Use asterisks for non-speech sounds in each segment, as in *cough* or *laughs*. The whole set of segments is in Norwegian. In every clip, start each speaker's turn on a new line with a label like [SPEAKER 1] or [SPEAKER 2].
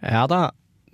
[SPEAKER 1] Ja da.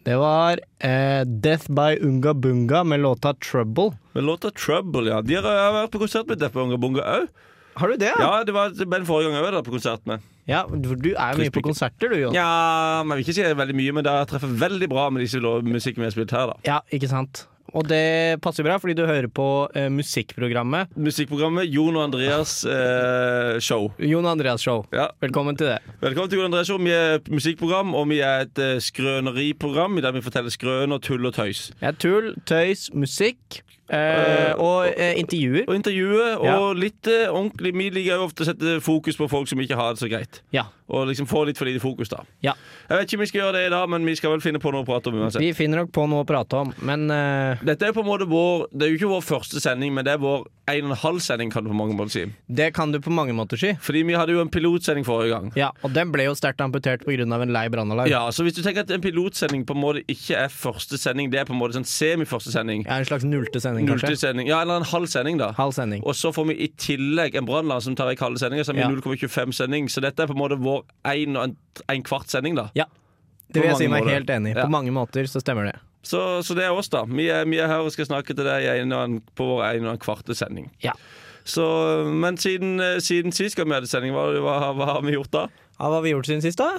[SPEAKER 1] Det var eh, Death by Unga Bunga med låta 'Trouble'.
[SPEAKER 2] Men låta 'Trouble', ja. De har jeg har vært på konsert med Deppe Unga Bunga òg.
[SPEAKER 1] Har du det?
[SPEAKER 2] Ja, det var den forrige gangen jeg var der på konsert med.
[SPEAKER 1] Ja, du, du er jo mye på
[SPEAKER 2] Krispikke.
[SPEAKER 1] konserter, du, Jon.
[SPEAKER 2] Ja, men jeg vil ikke si det veldig mye, men det treffer veldig bra med disse lå- musikken vi har spilt her, da.
[SPEAKER 1] Ja, ikke sant. Og det passer bra, fordi du hører på eh, musikkprogrammet
[SPEAKER 2] Musikkprogrammet Jon og Andreas eh, show.
[SPEAKER 1] Jon Andreas Show.
[SPEAKER 2] Ja.
[SPEAKER 1] Velkommen til det.
[SPEAKER 2] Velkommen til Jon og Andreas show. Vi er et musikkprogram, og vi er et eh, skrøneriprogram der vi forteller skrøner, tull og tøys.
[SPEAKER 1] Jeg er tull, tøys, musikk eh, og eh, intervjuer.
[SPEAKER 2] Og intervjue, og
[SPEAKER 1] Ja.
[SPEAKER 2] litt eh, ordentlig. Vi liker jo ofte å sette fokus på folk som ikke har det så greit.
[SPEAKER 1] Ja.
[SPEAKER 2] Og liksom få litt for lite fokus, da.
[SPEAKER 1] ja.
[SPEAKER 2] Jeg vet ikke om vi skal gjøre det i dag, men vi skal vel finne på noe å prate om uansett.
[SPEAKER 1] Vi finner nok på noe å prate om, men eh,
[SPEAKER 2] Dette er på en måte vår Det er jo ikke vår første sending, men det er vår en og en halv sending, kan du på mange måter si.
[SPEAKER 1] det kan du på mange måter si.
[SPEAKER 2] Fordi vi hadde jo en pilotsending forrige gang.
[SPEAKER 1] Ja, og den ble jo sterkt amputert pga. en lei brannalarm.
[SPEAKER 2] Ja, så hvis du tenker at en pilotsending på en måte ikke er første sending, det er på en måte sånn semi-første sending.
[SPEAKER 1] Ja, en slags nullte sending,
[SPEAKER 2] Null
[SPEAKER 1] kanskje.
[SPEAKER 2] til sending. Ja, eller en halv sending, da.
[SPEAKER 1] Halv sending.
[SPEAKER 2] Og så får vi i tillegg en brannlarm som tar vekk halve sendinga, som
[SPEAKER 1] Ja.
[SPEAKER 2] er 0,25-sending. Så dette er på en måte vår en og en, en kvart sending, da.
[SPEAKER 1] Ja. Det vil
[SPEAKER 2] På
[SPEAKER 1] jeg si
[SPEAKER 2] mange
[SPEAKER 1] meg
[SPEAKER 2] måter.
[SPEAKER 1] helt enig i.
[SPEAKER 2] Ja.
[SPEAKER 1] På mange måter så stemmer det.
[SPEAKER 2] Så, så det er oss, da. Vi er, vi er her og skal snakke til deg i en og en, på vår en og en kvarte sending.
[SPEAKER 1] Ja.
[SPEAKER 2] Så, men siden, eh, siden sist gang vi hadde sending, hva, hva, hva har vi gjort da?
[SPEAKER 1] Ja, hva har vi gjort siden sist, da?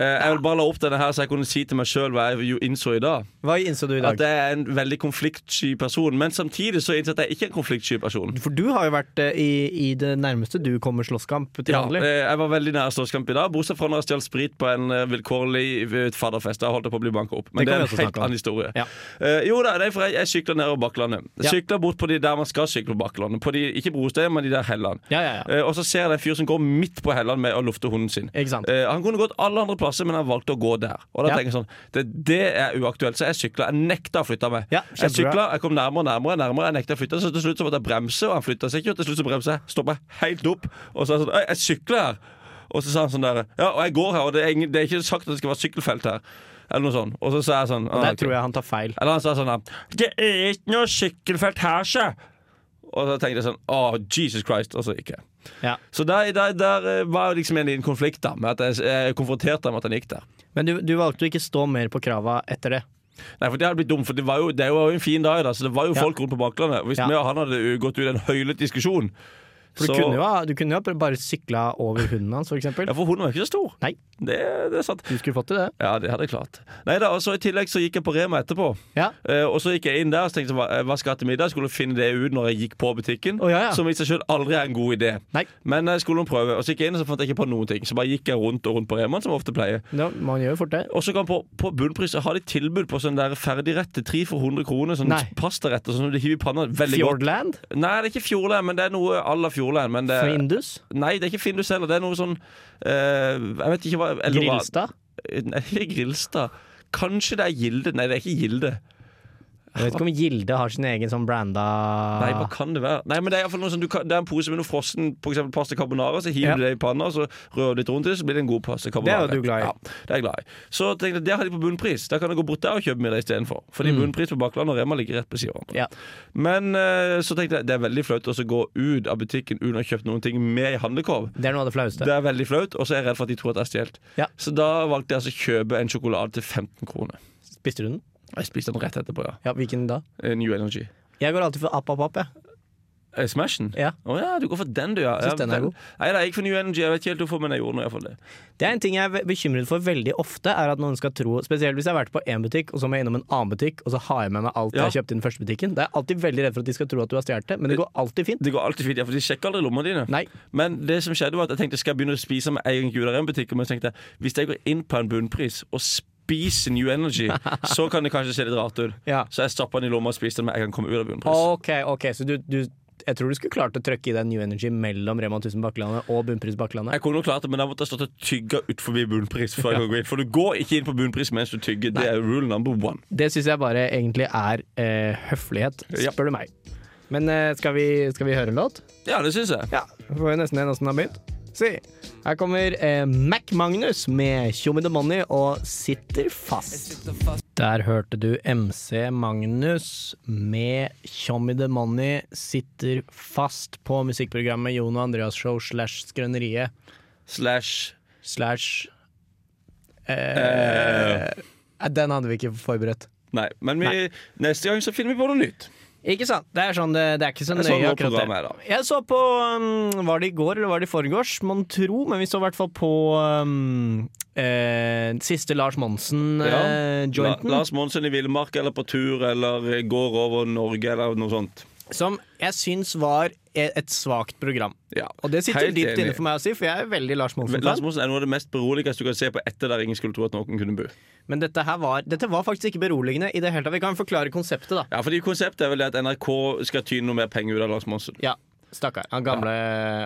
[SPEAKER 2] Eh, jeg vil bare la opp denne her, så jeg kunne si til meg sjøl hva jeg jo innså i dag.
[SPEAKER 1] Hva innså du i
[SPEAKER 2] At
[SPEAKER 1] dag?
[SPEAKER 2] jeg er en veldig konfliktsky person. Men samtidig så innser jeg at jeg ikke er en konfliktsky person.
[SPEAKER 1] For du har jo vært eh, i, i det nærmeste du kommer slåsskamp til
[SPEAKER 2] Ja,
[SPEAKER 1] vanlig.
[SPEAKER 2] eh, jeg var veldig nær slåsskamp i dag, bortsett fra når jeg stjal sprit på en eh, vilkårlig eh, fadderfest. Jeg holdt på å bli banka opp,
[SPEAKER 1] Det
[SPEAKER 2] men det,
[SPEAKER 1] kan vi
[SPEAKER 2] er
[SPEAKER 1] også
[SPEAKER 2] en
[SPEAKER 1] snakke
[SPEAKER 2] helt
[SPEAKER 1] om.
[SPEAKER 2] annen historie.
[SPEAKER 1] Ja.
[SPEAKER 2] Eh, jo da, det er for jeg, jeg sykler nedover Bakklandet.
[SPEAKER 1] Ja.
[SPEAKER 2] Jeg Sykler bort på de der man skal sykle på Bakklandet. På de, ikke brostedet, men de der hellene.
[SPEAKER 1] Ja, ja, ja.
[SPEAKER 2] Eh, og så ser jeg en fyr som går midt på hellene med å lufte hunden sin.
[SPEAKER 1] Ikke sant.
[SPEAKER 2] Eh, han kunne gått alle andre plasser, men han valgte å gå der. Og da
[SPEAKER 1] Ja.
[SPEAKER 2] tenker jeg sånn det, det er uaktuelt. Så jeg sykla. Jeg nekta å flytte meg.
[SPEAKER 1] Ja,
[SPEAKER 2] jeg
[SPEAKER 1] kjempebra.
[SPEAKER 2] sykla, jeg kom nærmere og nærmere, nærmere. Jeg nekta å flytte, så til slutt så måtte jeg bremse, og han flytta seg ikke. Og til slutt så bremsa jeg, stoppa helt opp, og så er jeg sånn «Oi, Jeg sykler her! Og så sa han sånn der Ja, og jeg går her, og det er, ingen, det er ikke sagt at det skal være sykkelfelt her. Eller noe sånt. Og så sa jeg sånn «Ah,
[SPEAKER 1] Der
[SPEAKER 2] ok.»
[SPEAKER 1] tror jeg han tar feil.
[SPEAKER 2] Eller han sa sånn her, Det er ikke noe sykkelfelt her, sjø! Og så tenkte jeg sånn Å, Jesus Christ. Og så gikk jeg.
[SPEAKER 1] Ja.
[SPEAKER 2] Så der, der, der eh, var liksom en liten konflikt, da. Med at jeg, jeg konfronterte ham med at han gikk der.
[SPEAKER 1] Men du, du valgte å ikke stå mer på krava etter det.
[SPEAKER 2] Nei, for det hadde blitt dumt, for det var jo, det var jo en fin dag, da, så det var jo
[SPEAKER 1] Ja.
[SPEAKER 2] folk rundt på baklandet. Hvis
[SPEAKER 1] Ja.
[SPEAKER 2] vi og han hadde jo gått ut i en høylytt diskusjon
[SPEAKER 1] For du
[SPEAKER 2] så-
[SPEAKER 1] kunne, jo, ha- du kunne jo ha bare sykla over hunden hans, for eksempel.
[SPEAKER 2] Ja, for hunden var jo ikke så stor.
[SPEAKER 1] Nei.
[SPEAKER 2] Det, det er sant.
[SPEAKER 1] Du skulle fått til det.
[SPEAKER 2] Ja, det hadde jeg klart. Nei da, og så I tillegg så gikk jeg på Rema etterpå.
[SPEAKER 1] Ja.
[SPEAKER 2] Eh, og så gikk jeg inn der og tenkte jeg, hva eh, hva skal jeg til middag. Skulle finne det ut når jeg gikk på butikken.
[SPEAKER 1] Å, ja, ja.
[SPEAKER 2] Som i seg selv aldri er en god idé.
[SPEAKER 1] Nei.
[SPEAKER 2] Men jeg skulle prøve, og så gikk jeg inn og så fant jeg ikke på noen ting. Så bare gikk jeg rundt og rundt på Remaen, som jeg ofte pleier.
[SPEAKER 1] Da, man gjør jo fort det.
[SPEAKER 2] Og så kan på, på bunnpris har de tilbud på sånn der ferdigrett til 3 for 100 kroner. Sånn
[SPEAKER 1] Nei.
[SPEAKER 2] pastaretter sånn som du hiver i panna. Veldig godt.
[SPEAKER 1] Fjordland?
[SPEAKER 2] Nei, det er ikke Fjordland, men det er noe à la Fjordland. Men det,
[SPEAKER 1] Findus?
[SPEAKER 2] nei, det er ikke Findus heller. Det er noe sånn eh, Jeg vet ikke hva Elora-
[SPEAKER 1] Grilstad?
[SPEAKER 2] Nei, *laughs* ikke Grilstad. Kanskje det er Gilde. Nei, det er ikke Gilde.
[SPEAKER 1] Jeg vet ikke om Gilde har sin egen sånn branda
[SPEAKER 2] Nei, hva kan det være? Nei, men Det er i hvert fall noe sånn, du kan, Det er en pose med noe frossen for eksempel pasta carbonara. Så hiver
[SPEAKER 1] Ja.
[SPEAKER 2] du det i panna, så rører du litt rundt i det, så blir det en god pasta carbonara.
[SPEAKER 1] Det er jo du glad i.
[SPEAKER 2] Ja, det er jeg glad i. Så tenkte jeg, det har de på bunnpris. Da kan jeg gå bort der og kjøpe middag istedenfor. Fordi bunnpris på Bakkland og Rema ligger rett ved siden av hverandre.
[SPEAKER 1] Mm. Ja.
[SPEAKER 2] Men eh, så tenkte jeg det er veldig flaut å så gå ut av butikken uten å ha kjøpt noen ting med i handlekorv.
[SPEAKER 1] Det er noe av det flaueste.
[SPEAKER 2] Det er veldig flaut, og så er jeg redd for at de tror at jeg har stjålet.
[SPEAKER 1] Ja.
[SPEAKER 2] Så da valgte jeg altså å kjøpe en sjokolade til 15 kroner.
[SPEAKER 1] Spiste du den?
[SPEAKER 2] Jeg spiste den rett etterpå, ja.
[SPEAKER 1] Ja, Hvilken da?
[SPEAKER 2] Eh, New Energy.
[SPEAKER 1] Jeg går alltid for app, app, app. jeg.
[SPEAKER 2] Eh, Smashen?
[SPEAKER 1] Ja.
[SPEAKER 2] Å ja, du går for den, du, ja.
[SPEAKER 1] Syns
[SPEAKER 2] ja
[SPEAKER 1] den er god.
[SPEAKER 2] Nei, nei, jeg gikk for New Energy. Jeg vet ikke helt hvorfor, men jeg gjorde nå iallfall det.
[SPEAKER 1] Det er en ting jeg er bekymret for veldig ofte, er at noen skal tro Spesielt hvis jeg har vært på én butikk, og så må jeg innom en annen butikk, og så har jeg med meg alt
[SPEAKER 2] Ja.
[SPEAKER 1] jeg kjøpte i den første butikken. Da er jeg alltid veldig redd for at de skal tro at du har stjålet det, men det går alltid fint.
[SPEAKER 2] Det går alltid fint, ja, for de sjekker aldri lommene dine.
[SPEAKER 1] Nei.
[SPEAKER 2] Men det som skjedde var at jeg tenkte skal jeg begynne å spise med egen gud der er en butikk. Men så tenkte jeg hvis jeg går inn på en bunnpris og spiser New
[SPEAKER 1] *laughs*
[SPEAKER 2] Energy, så kan det kanskje se litt rart ut.
[SPEAKER 1] Ja.
[SPEAKER 2] Så jeg stappa den i lomma og spiste den med en gang jeg kom ut av bunnpris.
[SPEAKER 1] Ok, ok, så du, du Jeg tror du skulle klart å trøkke i deg New Energy mellom Rema 1000 Bakklandet og Bunnpris Bakklandet.
[SPEAKER 2] Jeg kunne jo klart det, men da måtte jeg stått og tygga utfor bunnpris. Før jeg kan gå inn. For du går ikke inn på bunnpris mens du tygger. Det er rule number one.
[SPEAKER 1] Det syns jeg bare egentlig er eh, høflighet,
[SPEAKER 2] Ja.
[SPEAKER 1] spør du meg. Men eh, skal, vi, skal vi høre en låt?
[SPEAKER 2] Ja, det syns jeg.
[SPEAKER 1] Ja, får vi nesten en åssen den har begynt. Si. Her kommer eh, Mac Magnus med Tjommi the Money og Sitter fast. Der hørte du MC Magnus med Tjommi the Money sitter fast på musikkprogrammet Jon og Andreas Show slash Skrøneriet
[SPEAKER 2] Slash
[SPEAKER 1] slash eh, Eh, Den hadde vi ikke forberedt.
[SPEAKER 2] Nei, men vi, neste gang så finner vi på noe nytt.
[SPEAKER 1] Ikke sant? Det er, sånn, det, det er ikke så
[SPEAKER 2] Jeg så
[SPEAKER 1] nøye
[SPEAKER 2] noe
[SPEAKER 1] akkurat
[SPEAKER 2] program her, da.
[SPEAKER 1] det. Jeg så på um, Var det i går eller var det i forgårs? Mon tro, men vi så i hvert fall på um, eh, siste Lars eh,
[SPEAKER 2] La,
[SPEAKER 1] Monsen-jointen.
[SPEAKER 2] Lars Monsen i villmark eller på tur eller går over Norge eller noe sånt.
[SPEAKER 1] som jeg syns var e- et svakt program.
[SPEAKER 2] Ja.
[SPEAKER 1] Og det sitter
[SPEAKER 2] Helt
[SPEAKER 1] dypt
[SPEAKER 2] enig.
[SPEAKER 1] inne for meg å si, for jeg er veldig Lars
[SPEAKER 2] Lars
[SPEAKER 1] Monsen-fan.
[SPEAKER 2] Monsen er noe av det mest beroligende du kan se på etter der ingen skulle tro at noen kunne bo.
[SPEAKER 1] Men dette her var Dette var faktisk ikke beroligende i det hele tatt. Vi kan forklare konseptet, da.
[SPEAKER 2] Ja, fordi Konseptet er vel det at NRK skal tyne noe mer penger ut av Lars Monsen.
[SPEAKER 1] Ja, stakkar. Han gamle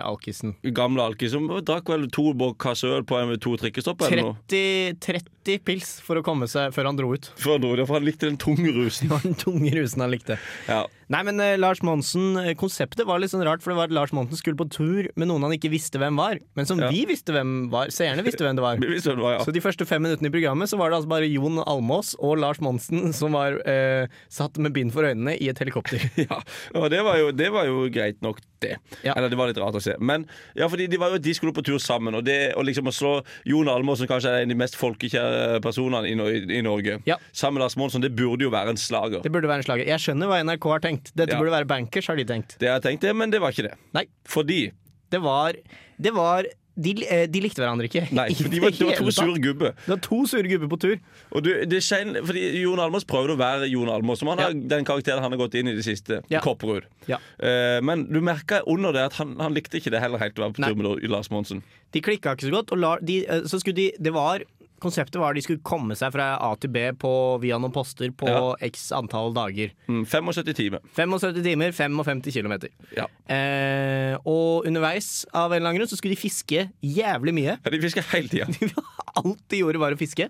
[SPEAKER 1] alkisen.
[SPEAKER 2] Gamle alki som drakk vel to bokasser øl på en to trikkestopp eller noe.
[SPEAKER 1] 30, 30 pils for å komme seg før han dro ut.
[SPEAKER 2] Før han dro, det, for han likte den tunge
[SPEAKER 1] *laughs*
[SPEAKER 2] rusen.
[SPEAKER 1] Det var den tunge rusen han likte.
[SPEAKER 2] Ja.
[SPEAKER 1] Nei, men eh, Lars Monsen, eh, konseptet var litt sånn rart, for det var at Lars Monsen skulle på tur med noen han ikke visste hvem var, men som
[SPEAKER 2] Ja.
[SPEAKER 1] vi visste hvem var. Seerne visste hvem det var.
[SPEAKER 2] Vi visste hvem det var,
[SPEAKER 1] Så
[SPEAKER 2] *laughs* ja.
[SPEAKER 1] de første fem minuttene i programmet Så var det altså bare Jon Almås og Lars Monsen som var eh, satt med bind for øynene i et helikopter.
[SPEAKER 2] *laughs* ja. Og det var, jo, det var jo greit nok, det.
[SPEAKER 1] Ja.
[SPEAKER 2] Eller det var litt rart å se. Men ja, fordi de, var jo, de skulle på tur sammen, og, det, og liksom å slå Jon Almaas, som kanskje er en av de mest folkekjære personene i, Nor- i Norge,
[SPEAKER 1] Ja.
[SPEAKER 2] sammen med Lars Monsson, det burde jo være en slager.
[SPEAKER 1] Det burde være en slager. Jeg skjønner hva NRK har tenkt. Dette
[SPEAKER 2] Ja.
[SPEAKER 1] burde være bankers, har de tenkt.
[SPEAKER 2] Det har jeg tenkt, det, men det var ikke det.
[SPEAKER 1] Nei,
[SPEAKER 2] Fordi
[SPEAKER 1] det var, det var de, eh, de likte hverandre ikke.
[SPEAKER 2] Nei,
[SPEAKER 1] Ikke
[SPEAKER 2] for de
[SPEAKER 1] *laughs*
[SPEAKER 2] var,
[SPEAKER 1] i
[SPEAKER 2] det var
[SPEAKER 1] hele
[SPEAKER 2] to
[SPEAKER 1] tatt.
[SPEAKER 2] sure gubber.
[SPEAKER 1] Det var to sure gubber på tur.
[SPEAKER 2] Og du, det skjen, fordi Jon Almaas prøvde å være Jon Almaas, som han har, den karakteren han har gått inn i det siste.
[SPEAKER 1] Ja.
[SPEAKER 2] Kopperud.
[SPEAKER 1] Ja.
[SPEAKER 2] Eh, men du merka under det at han, han likte ikke det heller helt å være på
[SPEAKER 1] Nei.
[SPEAKER 2] tur med Lars Monsen.
[SPEAKER 1] De klikka ikke så godt. Og la, de, eh, så skulle de, det var, konseptet var de skulle komme seg fra A til B på, via noen poster på
[SPEAKER 2] Ja.
[SPEAKER 1] x antall dager.
[SPEAKER 2] Mm, 75 timer.
[SPEAKER 1] 75 timer, 55 kilometer.
[SPEAKER 2] Ja.
[SPEAKER 1] Eh, og underveis av en eller annen grunn så skulle de fiske jævlig mye. *laughs*
[SPEAKER 2] Ja, de fisker hele tida.
[SPEAKER 1] Alt de gjorde, var å fiske.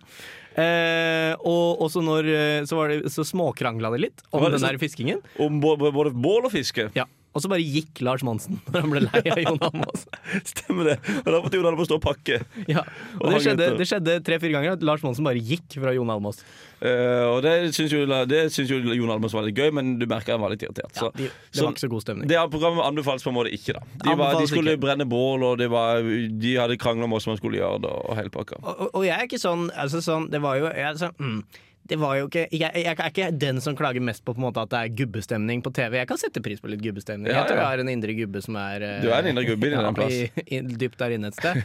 [SPEAKER 1] Eh, og også når eh, Så, var det, så småkrangla de litt om
[SPEAKER 2] Var det
[SPEAKER 1] den
[SPEAKER 2] så-
[SPEAKER 1] der fiskingen.
[SPEAKER 2] *laughs* Om bå- bå- både bål og fiske.
[SPEAKER 1] Ja. Og så bare gikk Lars Monsen *laughs* når han ble lei av Jon Almaas. *laughs*
[SPEAKER 2] Stemmer det. Og da måtte Jon Almaas stå og pakke.
[SPEAKER 1] Ja. Og
[SPEAKER 2] Og
[SPEAKER 1] det
[SPEAKER 2] han
[SPEAKER 1] skjedde,
[SPEAKER 2] etter.
[SPEAKER 1] det skjedde tre-fire ganger at Lars Monsen bare gikk fra Jon Almaas.
[SPEAKER 2] Eh, og det syns jo, det syns jo Jon Almaas var litt gøy, men du merka han var litt irritert.
[SPEAKER 1] Ja,
[SPEAKER 2] Så-
[SPEAKER 1] de, det
[SPEAKER 2] så-
[SPEAKER 1] var ikke så god stemning.
[SPEAKER 2] Det her programmet anbefales på en måte ikke, da. De, var, de
[SPEAKER 1] Anbefales
[SPEAKER 2] skulle
[SPEAKER 1] ikke.
[SPEAKER 2] brenne bål, og det var, de hadde krangla om hva som man skulle gjøre det, og hele pakka.
[SPEAKER 1] Og, og- og jeg er ikke sånn, altså sånn Det var jo jeg, er sånn, mm, det var jo ikke, jeg, jeg er ikke den som klager mest på, på en måte at det er gubbestemning på TV. Jeg kan sette pris på litt gubbestemning.
[SPEAKER 2] Ja,
[SPEAKER 1] jeg tror
[SPEAKER 2] ja.
[SPEAKER 1] jeg har en indre gubbe som er eh,
[SPEAKER 2] Du er en indre
[SPEAKER 1] *laughs*
[SPEAKER 2] gubbe inni den plass.
[SPEAKER 1] i- i- Dypt der inne et
[SPEAKER 2] *laughs*
[SPEAKER 1] sted.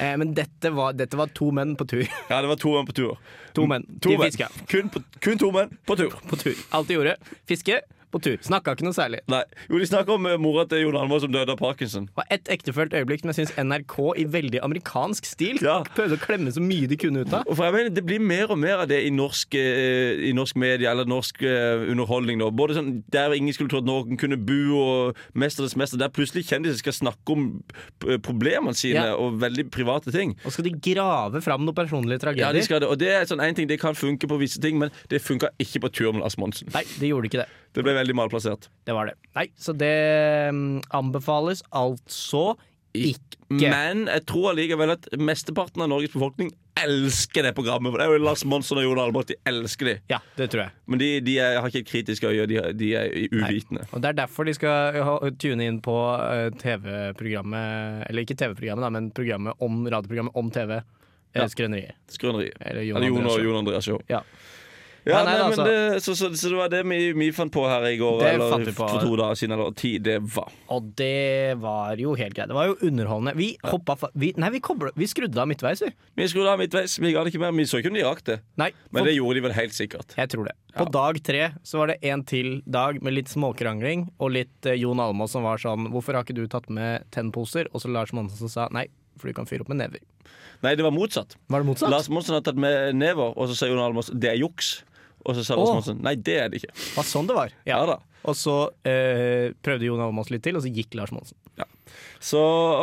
[SPEAKER 1] Eh, men dette var, dette var to menn på tur.
[SPEAKER 2] Ja, det var to menn på tur.
[SPEAKER 1] To menn.
[SPEAKER 2] *laughs* To
[SPEAKER 1] De
[SPEAKER 2] menn.
[SPEAKER 1] fiska.
[SPEAKER 2] Kun, på, kun to menn på tur.
[SPEAKER 1] På tur. Alt de gjorde. Fiske på tur. Snakka ikke noe særlig.
[SPEAKER 2] Nei, jo De snakker om eh, mora til Jon Almaas som døde av parkinson.
[SPEAKER 1] Det var ett ektefølt øyeblikk som jeg syns NRK i veldig amerikansk stil
[SPEAKER 2] Ja.
[SPEAKER 1] prøvde å klemme så mye de kunne ut av.
[SPEAKER 2] Og for jeg mener, Det blir mer og mer av det i norsk, eh, i norsk media eller norsk eh, underholdning. nå Både sånn Der ingen skulle tro at noen kunne bo, og 'Mesternes mester', der plutselig kjendiser skal snakke om eh, problemene sine
[SPEAKER 1] Ja.
[SPEAKER 2] og veldig private ting.
[SPEAKER 1] Og skal de grave fram noen personlige
[SPEAKER 2] Ja,
[SPEAKER 1] tragedier?
[SPEAKER 2] de skal det. Og det er sånn en ting, det kan funke på visse ting, men det funka ikke på tur med Lars Monsen.
[SPEAKER 1] Nei, de gjorde ikke det.
[SPEAKER 2] Det ble veldig malplassert.
[SPEAKER 1] Det var det. Nei, så det mm, anbefales altså ikke.
[SPEAKER 2] Men jeg tror allikevel at mesteparten av Norges befolkning elsker det programmet. For det er jo Lars Monsen og Jon Albert, de elsker de.
[SPEAKER 1] Ja, det tror jeg.
[SPEAKER 2] Men de, de er, har ikke et kritisk øye, og de, er- de er uvitende.
[SPEAKER 1] Og det er derfor de skal ha- tune inn på eh, TV-programmet Eller ikke TV-programmet, da, men programmet om, radioprogrammet om TV.
[SPEAKER 2] Ja.
[SPEAKER 1] Ja. Skrøneriet.
[SPEAKER 2] Skrøneriet.
[SPEAKER 1] Eller Jon
[SPEAKER 2] Eller Jon
[SPEAKER 1] Andreas
[SPEAKER 2] og
[SPEAKER 1] Show.
[SPEAKER 2] Jon Andreas Show.
[SPEAKER 1] Ja.
[SPEAKER 2] Ja,
[SPEAKER 1] Nei, nei,
[SPEAKER 2] nei, men
[SPEAKER 1] altså.
[SPEAKER 2] det, så, så, så det var det vi, vi fant på her i går,
[SPEAKER 1] Det fant
[SPEAKER 2] eller
[SPEAKER 1] vi på.
[SPEAKER 2] for to dager siden, eller ti. Det var
[SPEAKER 1] Og det var jo helt greit. Det var jo underholdende. Vi hoppa fa... Vi, nei, vi, koblet, vi skrudde av midtveis, vi.
[SPEAKER 2] Vi skrudde av midtveis. Vi ga det ikke mer. Vi så ikke om de rakk det.
[SPEAKER 1] Nei.
[SPEAKER 2] Men
[SPEAKER 1] for-
[SPEAKER 2] det gjorde de vel helt sikkert.
[SPEAKER 1] Jeg tror det. På dag tre så var det en til dag med litt småkrangling og litt eh, Jon Almaas som var sånn 'Hvorfor har ikke du tatt med tennposer?' Og så Lars Monsen som sa 'Nei, for du kan fyre opp med never'.
[SPEAKER 2] Nei, det var motsatt.
[SPEAKER 1] Var det motsatt?
[SPEAKER 2] Lars Monsen har tatt med never, og så sa Jon Almaas det er juks. Og så sa Lars
[SPEAKER 1] Åh.
[SPEAKER 2] Monsen nei, det er det ikke.
[SPEAKER 1] Det var sånn det var.
[SPEAKER 2] Ja da.
[SPEAKER 1] Og så eh, prøvde Jon Almaas litt til, og så gikk Lars Monsen.
[SPEAKER 2] Så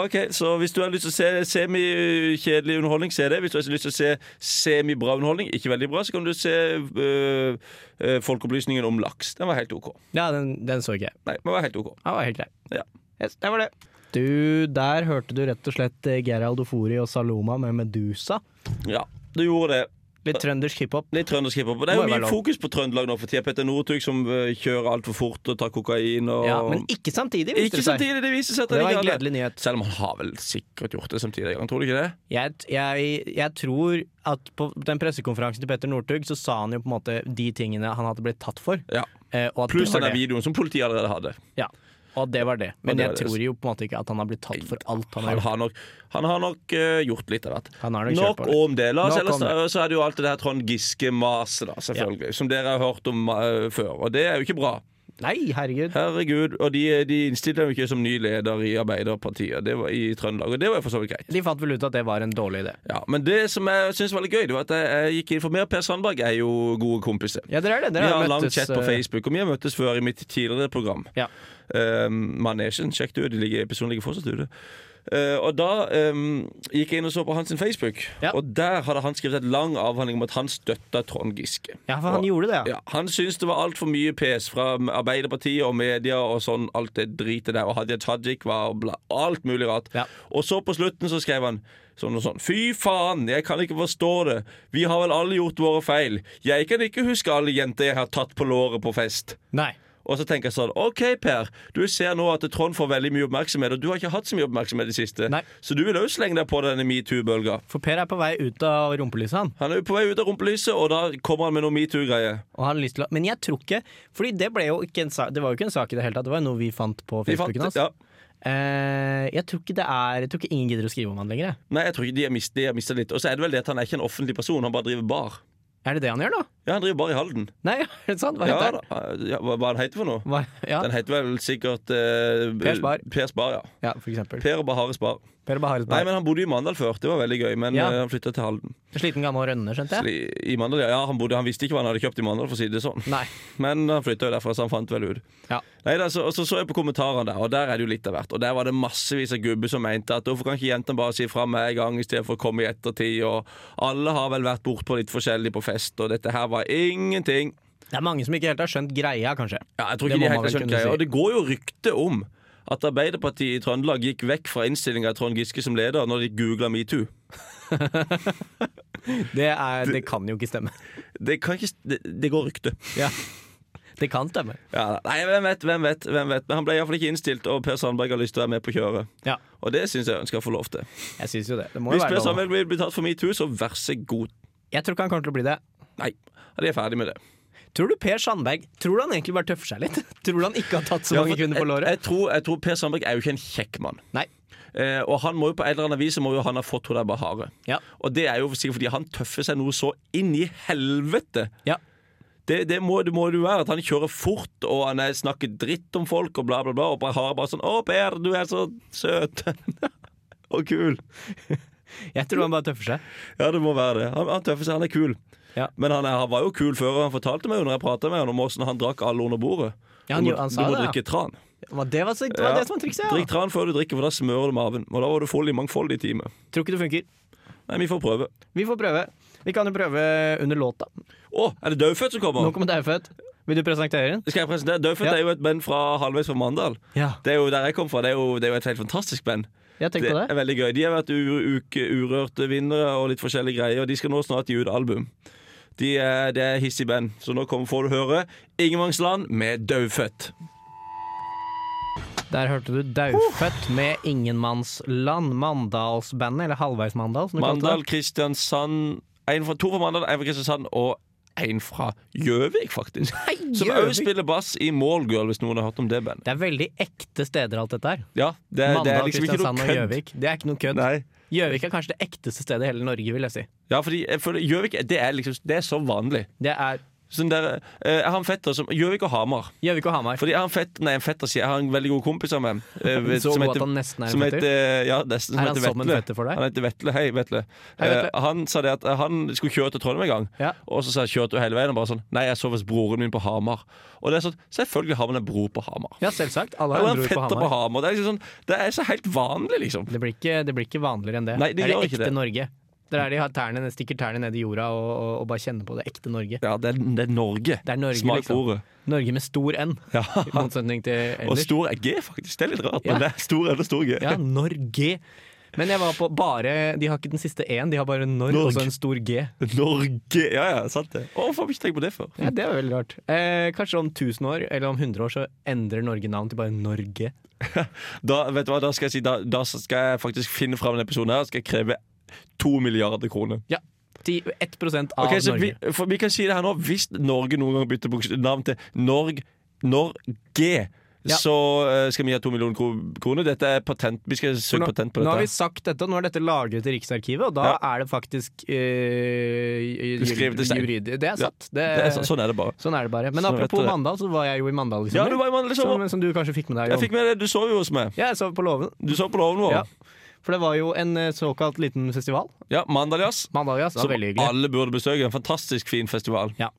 [SPEAKER 2] ok, så hvis du har lyst til å se semikjedelig underholdning, se det. Hvis du har lyst til å se semibra underholdning, ikke veldig bra, så kan du se øh, øh, Folkeopplysningen om laks. Den var helt OK.
[SPEAKER 1] Ja, den, den så ikke jeg.
[SPEAKER 2] Nei, den var helt OK.
[SPEAKER 1] Den var helt grei.
[SPEAKER 2] Ja.
[SPEAKER 1] Yes, det var det. Du, der hørte du rett og slett eh, Gerald Ofori og Saloma med Medusa.
[SPEAKER 2] ja. Du gjorde det.
[SPEAKER 1] Litt trøndersk hiphop.
[SPEAKER 2] Litt trøndersk hiphop. Det er
[SPEAKER 1] Må
[SPEAKER 2] jo
[SPEAKER 1] jo være
[SPEAKER 2] mye
[SPEAKER 1] lov.
[SPEAKER 2] fokus på Trøndelag nå for tida. Petter Northug som eh, kjører altfor fort og tar kokain og
[SPEAKER 1] Ja, men ikke samtidig, viste
[SPEAKER 2] Ikke
[SPEAKER 1] det seg.
[SPEAKER 2] samtidig, det viser seg at
[SPEAKER 1] Det
[SPEAKER 2] han
[SPEAKER 1] var
[SPEAKER 2] ikke
[SPEAKER 1] en
[SPEAKER 2] hadde-
[SPEAKER 1] gledelig nyhet.
[SPEAKER 2] Selv om han har vel sikkert gjort det samtidig en gang, tror du ikke det?
[SPEAKER 1] Jeg, jeg, jeg tror at på den pressekonferansen til Petter Northug så sa han jo på en måte de tingene han hadde blitt tatt for.
[SPEAKER 2] Ja.
[SPEAKER 1] eh, Og at
[SPEAKER 2] Pluss
[SPEAKER 1] det var
[SPEAKER 2] denne
[SPEAKER 1] det.
[SPEAKER 2] videoen som politiet allerede hadde.
[SPEAKER 1] Ja, og at det var det. Men
[SPEAKER 2] det
[SPEAKER 1] jeg
[SPEAKER 2] var det.
[SPEAKER 1] tror jo på en måte ikke at han har blitt tatt for alt han har
[SPEAKER 2] Han
[SPEAKER 1] gjort.
[SPEAKER 2] har nok, han har nok eh, gjort litt av hvert.
[SPEAKER 1] Han har nok kjørt på det.
[SPEAKER 2] om det. La oss,
[SPEAKER 1] Nok
[SPEAKER 2] ellers
[SPEAKER 1] om
[SPEAKER 2] eh, så er det jo alltid det her Trond Giske-maset, da, selvfølgelig. Som dere har hørt om eh, før. Og det er jo ikke bra.
[SPEAKER 1] Nei, herregud.
[SPEAKER 2] Herregud. Og de, de innstilte jo ikke som ny leder i Arbeiderpartiet det var i Trøndelag, og det var jo for så vidt greit.
[SPEAKER 1] De fant vel ut at det var en dårlig idé.
[SPEAKER 2] Ja, Men det som jeg syns var litt gøy, det var at jeg, jeg gikk inn for meg og Per Sandberg er jo gode kompiser.
[SPEAKER 1] Ja, dere er det.
[SPEAKER 2] Vi
[SPEAKER 1] Dere
[SPEAKER 2] har
[SPEAKER 1] har
[SPEAKER 2] en lang
[SPEAKER 1] møttes
[SPEAKER 2] chat på
[SPEAKER 1] eh,
[SPEAKER 2] Facebook, og vi har møttes før i mitt tidligere program.
[SPEAKER 1] Ja.
[SPEAKER 2] Eh, Manesjen, sjekk det ut. de ligger- Episoden ligger fortsatt ute. Eh, og da eh, gikk jeg inn og så på hans sin Facebook,
[SPEAKER 1] Ja.
[SPEAKER 2] og der hadde han skrevet en lang avhandling om at han støtta Trond Giske.
[SPEAKER 1] Ja, for han
[SPEAKER 2] Og-
[SPEAKER 1] gjorde det, ja.
[SPEAKER 2] ja, han syntes det var altfor mye pes fra Arbeiderpartiet og media og sånn, alt det dritet der. Og Hadia Tajik var bla, alt mulig rart.
[SPEAKER 1] Ja.
[SPEAKER 2] Og så på slutten så skrev han sånn og sånn. Fy faen, jeg kan ikke forstå det. Vi har vel alle gjort våre feil. Jeg kan ikke huske alle jenter jeg har tatt på låret på fest.
[SPEAKER 1] Nei.
[SPEAKER 2] Og så tenker jeg sånn OK, Per. Du ser nå at Trond får veldig mye oppmerksomhet, og du har ikke hatt så mye oppmerksomhet i det siste,
[SPEAKER 1] Nei.
[SPEAKER 2] så du vil òg slenge deg på denne metoo-bølga.
[SPEAKER 1] For Per er på vei ut av rumpelyset, han.
[SPEAKER 2] Han er jo på vei ut av rumpelyset, og da kommer han med noe metoo-greie.
[SPEAKER 1] Og har lyst til å, men jeg tror ikke Fordi det ble jo ikke en sak Det var jo ikke en sak i det hele tatt. Det var jo noe vi fant på
[SPEAKER 2] Vi fant-
[SPEAKER 1] Facebooken hans.
[SPEAKER 2] ja.
[SPEAKER 1] Eh, jeg tror ikke det er Jeg tror ikke ingen gidder å skrive om han lenger. jeg.
[SPEAKER 2] Nei, jeg tror ikke de har mist- de har mista litt. Og så er det vel det at han er ikke en offentlig person, han bare driver bar.
[SPEAKER 1] Er det det han gjør nå?
[SPEAKER 2] Ja, han driver bar i Halden.
[SPEAKER 1] Nei, *laughs* er det sant? Hva
[SPEAKER 2] Ja,
[SPEAKER 1] heter
[SPEAKER 2] da.
[SPEAKER 1] han?
[SPEAKER 2] ja, hva hva han heter for noe?
[SPEAKER 1] Hva, ja.
[SPEAKER 2] Den heter vel sikkert eh,
[SPEAKER 1] Pers Bar.
[SPEAKER 2] Pers Bar, ja.
[SPEAKER 1] ja, for eksempel.
[SPEAKER 2] Per og Bahares Bar.
[SPEAKER 1] Per
[SPEAKER 2] Nei,
[SPEAKER 1] Baharetberg.
[SPEAKER 2] men han bodde i Mandal før. Det var veldig gøy. Men
[SPEAKER 1] Ja.
[SPEAKER 2] eh, han flytta til Halden.
[SPEAKER 1] Sliten gammel rønne, skjønte jeg.
[SPEAKER 2] I, i Mandal, ja, ja han, bodde, han visste ikke hva han hadde kjøpt i Mandal, for å si det sånn.
[SPEAKER 1] Nei.
[SPEAKER 2] Men han flytta jo derfra, så han fant vel ut.
[SPEAKER 1] Ja.
[SPEAKER 2] Nei, da, så, og så så jeg på kommentarene der, og der er det jo litt av hvert. Og der var det massevis av gubber som mente at hvorfor kan ikke jentene bare si fra med en gang istedenfor å komme i ettertid, og alle har vel vært bortpå litt forskjellig på fest, og dette her var ingenting.
[SPEAKER 1] Det er mange som ikke helt har skjønt greia, kanskje.
[SPEAKER 2] Ja, jeg tror
[SPEAKER 1] Det må
[SPEAKER 2] ikke
[SPEAKER 1] man
[SPEAKER 2] de helt
[SPEAKER 1] vel
[SPEAKER 2] har skjønt
[SPEAKER 1] kunne
[SPEAKER 2] greia.
[SPEAKER 1] si.
[SPEAKER 2] Og det går jo rykte om at Arbeiderpartiet i Trøndelag gikk vekk fra innstillinga av Trond Giske som leder når de googla metoo.
[SPEAKER 1] Det, er, det kan jo ikke
[SPEAKER 2] *laughs*
[SPEAKER 1] stemme.
[SPEAKER 2] Det, kan ikke, det, det går rykte.
[SPEAKER 1] Ja. Det kan stemme.
[SPEAKER 2] Ja, nei, hvem vet, hvem vet. hvem vet Men han ble iallfall ikke innstilt, og Per Sandberg har lyst til å være med på kjøret.
[SPEAKER 1] Ja,
[SPEAKER 2] Og det syns jeg han skal få lov til.
[SPEAKER 1] jeg syns jo det. Det må jo
[SPEAKER 2] Hvis
[SPEAKER 1] være
[SPEAKER 2] Per
[SPEAKER 1] lov.
[SPEAKER 2] Sandberg blir blir tatt for metoo, så vær så god.
[SPEAKER 1] Jeg tror ikke han kommer til å bli det.
[SPEAKER 2] Nei, de er ferdig med det.
[SPEAKER 1] Tror du Per Sandberg Tror du han egentlig bare tøffer seg litt? *laughs* Tror du han ikke har tatt så
[SPEAKER 2] Ja,
[SPEAKER 1] mange
[SPEAKER 2] for
[SPEAKER 1] kvinner på
[SPEAKER 2] jeg-
[SPEAKER 1] låret?
[SPEAKER 2] Jeg, tror- jeg tror Per Sandberg er jo ikke en kjekk mann.
[SPEAKER 1] Nei.
[SPEAKER 2] Eh, og han må jo på en eller annen vis så må jo han ha fått henne der Bahare.
[SPEAKER 1] Ja.
[SPEAKER 2] Og det er jo sikkert fordi han tøffer seg noe så inn i helvete.
[SPEAKER 1] Ja.
[SPEAKER 2] Det, det, må, det må det jo være. At han kjører fort, og han er, snakker dritt om folk, og bla, bla, bla. Og Bahare bare sånn 'Å, Per, du er så søt'. *laughs* og kul.
[SPEAKER 1] Jeg tror han bare tøffer seg.
[SPEAKER 2] Ja, det må være det. Han, han tøffer seg, han er kul.
[SPEAKER 1] Ja.
[SPEAKER 2] Men han, er, han var jo kul før, og han fortalte meg jo når jeg pratet med han om åssen han drakk alle under bordet.
[SPEAKER 1] Ja, han
[SPEAKER 2] du
[SPEAKER 1] gjorde-
[SPEAKER 2] må,
[SPEAKER 1] han
[SPEAKER 2] du
[SPEAKER 1] sa
[SPEAKER 2] må
[SPEAKER 1] det, ja.
[SPEAKER 2] drikke tran.
[SPEAKER 1] Hva- Det var, så, det, var
[SPEAKER 2] Ja.
[SPEAKER 1] det som var trikset, ja.
[SPEAKER 2] Drikk tran før du drikker, for da smører du maven. Og da var du full i mangfoldige timer.
[SPEAKER 1] Tror ikke det funker.
[SPEAKER 2] Nei, vi får prøve.
[SPEAKER 1] Vi får prøve. Vi kan jo prøve under låta.
[SPEAKER 2] Å, er det Daufødt som kommer?
[SPEAKER 1] Nå kommer Daufødt. Vil du presentere den?
[SPEAKER 2] Skal jeg presentere? Daufødt
[SPEAKER 1] Ja.
[SPEAKER 2] er jo et band fra halvveis fra Mandal.
[SPEAKER 1] Ja.
[SPEAKER 2] Det er jo der jeg kom fra. Det er jo, det er jo et helt fantastisk band.
[SPEAKER 1] Jeg tenkte på det.
[SPEAKER 2] er veldig gøy. De har vært u- uke- urørte vinnere og litt forskjellige greier, og de skal nå snart gi ut album. De er, det er hissig band, så nå kommer, får du høre Ingemannsland med Daufødt.
[SPEAKER 1] Der hørte du Daufødt med Ingenmannsland. Mandalsbandet, eller Halvveis-Mandal, som du kalte
[SPEAKER 2] Mandal,
[SPEAKER 1] det.
[SPEAKER 2] Kristiansand en fra, To fra Mandal, en fra Kristiansand og en fra Gjøvik, faktisk. Som
[SPEAKER 1] Gjøvik.
[SPEAKER 2] òg spiller bass i Målgirl, hvis noen har hørt om det bandet.
[SPEAKER 1] Det er veldig ekte steder, alt dette her.
[SPEAKER 2] Ja, Eh, det, det
[SPEAKER 1] Mandal,
[SPEAKER 2] er liksom ikke
[SPEAKER 1] Kristiansand
[SPEAKER 2] noe
[SPEAKER 1] og
[SPEAKER 2] kødd.
[SPEAKER 1] Gjøvik. Det er ikke noe kødd.
[SPEAKER 2] Nei.
[SPEAKER 1] Gjøvik er kanskje det ekteste stedet i hele Norge, vil jeg si.
[SPEAKER 2] Ja, fordi jeg føler Gjøvik det er liksom Det er så vanlig.
[SPEAKER 1] Det er
[SPEAKER 2] Sånn der, eh, jeg har en fetter som Gjøvik og Hamar.
[SPEAKER 1] Gjøvik og Hamar.
[SPEAKER 2] Fordi jeg har en fetter Nei, en fetter sier jeg har en veldig god kompis av meg. eh,
[SPEAKER 1] *laughs* Så god at han nesten er en
[SPEAKER 2] som
[SPEAKER 1] fetter?
[SPEAKER 2] heter- eh, ja, nesten, som
[SPEAKER 1] Er han
[SPEAKER 2] heter
[SPEAKER 1] som en
[SPEAKER 2] Vetle.
[SPEAKER 1] fetter for deg?
[SPEAKER 2] Han heter Vetle. Hei, Vetle.
[SPEAKER 1] Hei, Vetle.
[SPEAKER 2] Eh, han sa det at eh, han skulle kjøre til Trondheim en gang,
[SPEAKER 1] Ja.
[SPEAKER 2] og så sa jeg kjørte du hele veien? Og bare sånn Nei, jeg så hos broren min på Hamar. Og det er sånn Selvfølgelig har man en bror på Hamar.
[SPEAKER 1] Ja, selvsagt. Alle har
[SPEAKER 2] Eller
[SPEAKER 1] en
[SPEAKER 2] en
[SPEAKER 1] bror på
[SPEAKER 2] fetter på
[SPEAKER 1] Hamar.
[SPEAKER 2] Hamar. Det er, liksom sånn, det er så helt vanlig, liksom.
[SPEAKER 1] Det blir, ikke, det blir ikke vanligere enn det.
[SPEAKER 2] Nei, det
[SPEAKER 1] er
[SPEAKER 2] gjør
[SPEAKER 1] det
[SPEAKER 2] ikke
[SPEAKER 1] ekte
[SPEAKER 2] det.
[SPEAKER 1] Norge. Det er der de har tærne, stikker tærne ned i jorda og, og, og bare kjenner på det ekte Norge.
[SPEAKER 2] Ja, det er, det er Norge.
[SPEAKER 1] Det er Norge,
[SPEAKER 2] Smak
[SPEAKER 1] liksom.
[SPEAKER 2] ordet.
[SPEAKER 1] Norge med stor N,
[SPEAKER 2] Ja.
[SPEAKER 1] i motsetning til
[SPEAKER 2] *laughs* Og
[SPEAKER 1] ellers.
[SPEAKER 2] stor er G, faktisk. Det er litt rart,
[SPEAKER 1] Ja.
[SPEAKER 2] men det er stor eller stor G.
[SPEAKER 1] Ja, Norge. Men jeg var på bare De har ikke den siste én, de har bare når,
[SPEAKER 2] Norg.
[SPEAKER 1] og så en stor G.
[SPEAKER 2] *laughs* Norge! Ja, ja, sant det. Å, Hvorfor har vi ikke tenkt på det før?
[SPEAKER 1] Ja, det var veldig rart. Eh, kanskje om 1000 år, eller om 100 år, så endrer Norge navn til bare Norge.
[SPEAKER 2] Da, vet du hva, da skal jeg si Da, da skal jeg faktisk finne fram denne episoden her og skal jeg kreve to milliarder kroner.
[SPEAKER 1] Ja. 10, 1 av
[SPEAKER 2] Ok, så vi,
[SPEAKER 1] Norge.
[SPEAKER 2] for vi kan si det her nå. Hvis Norge noen gang bytter bokst- navn til Norg, Norge,
[SPEAKER 1] Ja.
[SPEAKER 2] så eh, skal vi ha to millioner kro- kroner. Dette er patent. Vi skal
[SPEAKER 1] For
[SPEAKER 2] søke
[SPEAKER 1] nå,
[SPEAKER 2] patent på
[SPEAKER 1] nå har vi
[SPEAKER 2] dette.
[SPEAKER 1] sagt dette, og nå er dette lagret i Riksarkivet, og da
[SPEAKER 2] Ja.
[SPEAKER 1] er det faktisk eh, ju-
[SPEAKER 2] Skrevet i stein.
[SPEAKER 1] juridi- Det er
[SPEAKER 2] Ja,
[SPEAKER 1] sant. Det,
[SPEAKER 2] Det er, så- sånn er det bare.
[SPEAKER 1] Sånn er det bare. Men
[SPEAKER 2] Sånn vet
[SPEAKER 1] apropos
[SPEAKER 2] du det.
[SPEAKER 1] Mandal, så var jeg jo i Mandal i
[SPEAKER 2] Ja,
[SPEAKER 1] sommer.
[SPEAKER 2] du var i Mandal i
[SPEAKER 1] som,
[SPEAKER 2] sommer.
[SPEAKER 1] som du kanskje fikk med deg.
[SPEAKER 2] Jeg
[SPEAKER 1] Jon.
[SPEAKER 2] fikk med det. Du sov jo hos meg.
[SPEAKER 1] Ja, jeg sov på låven.
[SPEAKER 2] Du sov på låven vår.
[SPEAKER 1] Ja. For det var jo en eh, såkalt liten festival.
[SPEAKER 2] Ja, Mandal Jazz.
[SPEAKER 1] Mandal Jazz.
[SPEAKER 2] Som
[SPEAKER 1] Som veldig hyggelig.
[SPEAKER 2] alle burde besøke. En fantastisk fin festival.
[SPEAKER 1] Ja.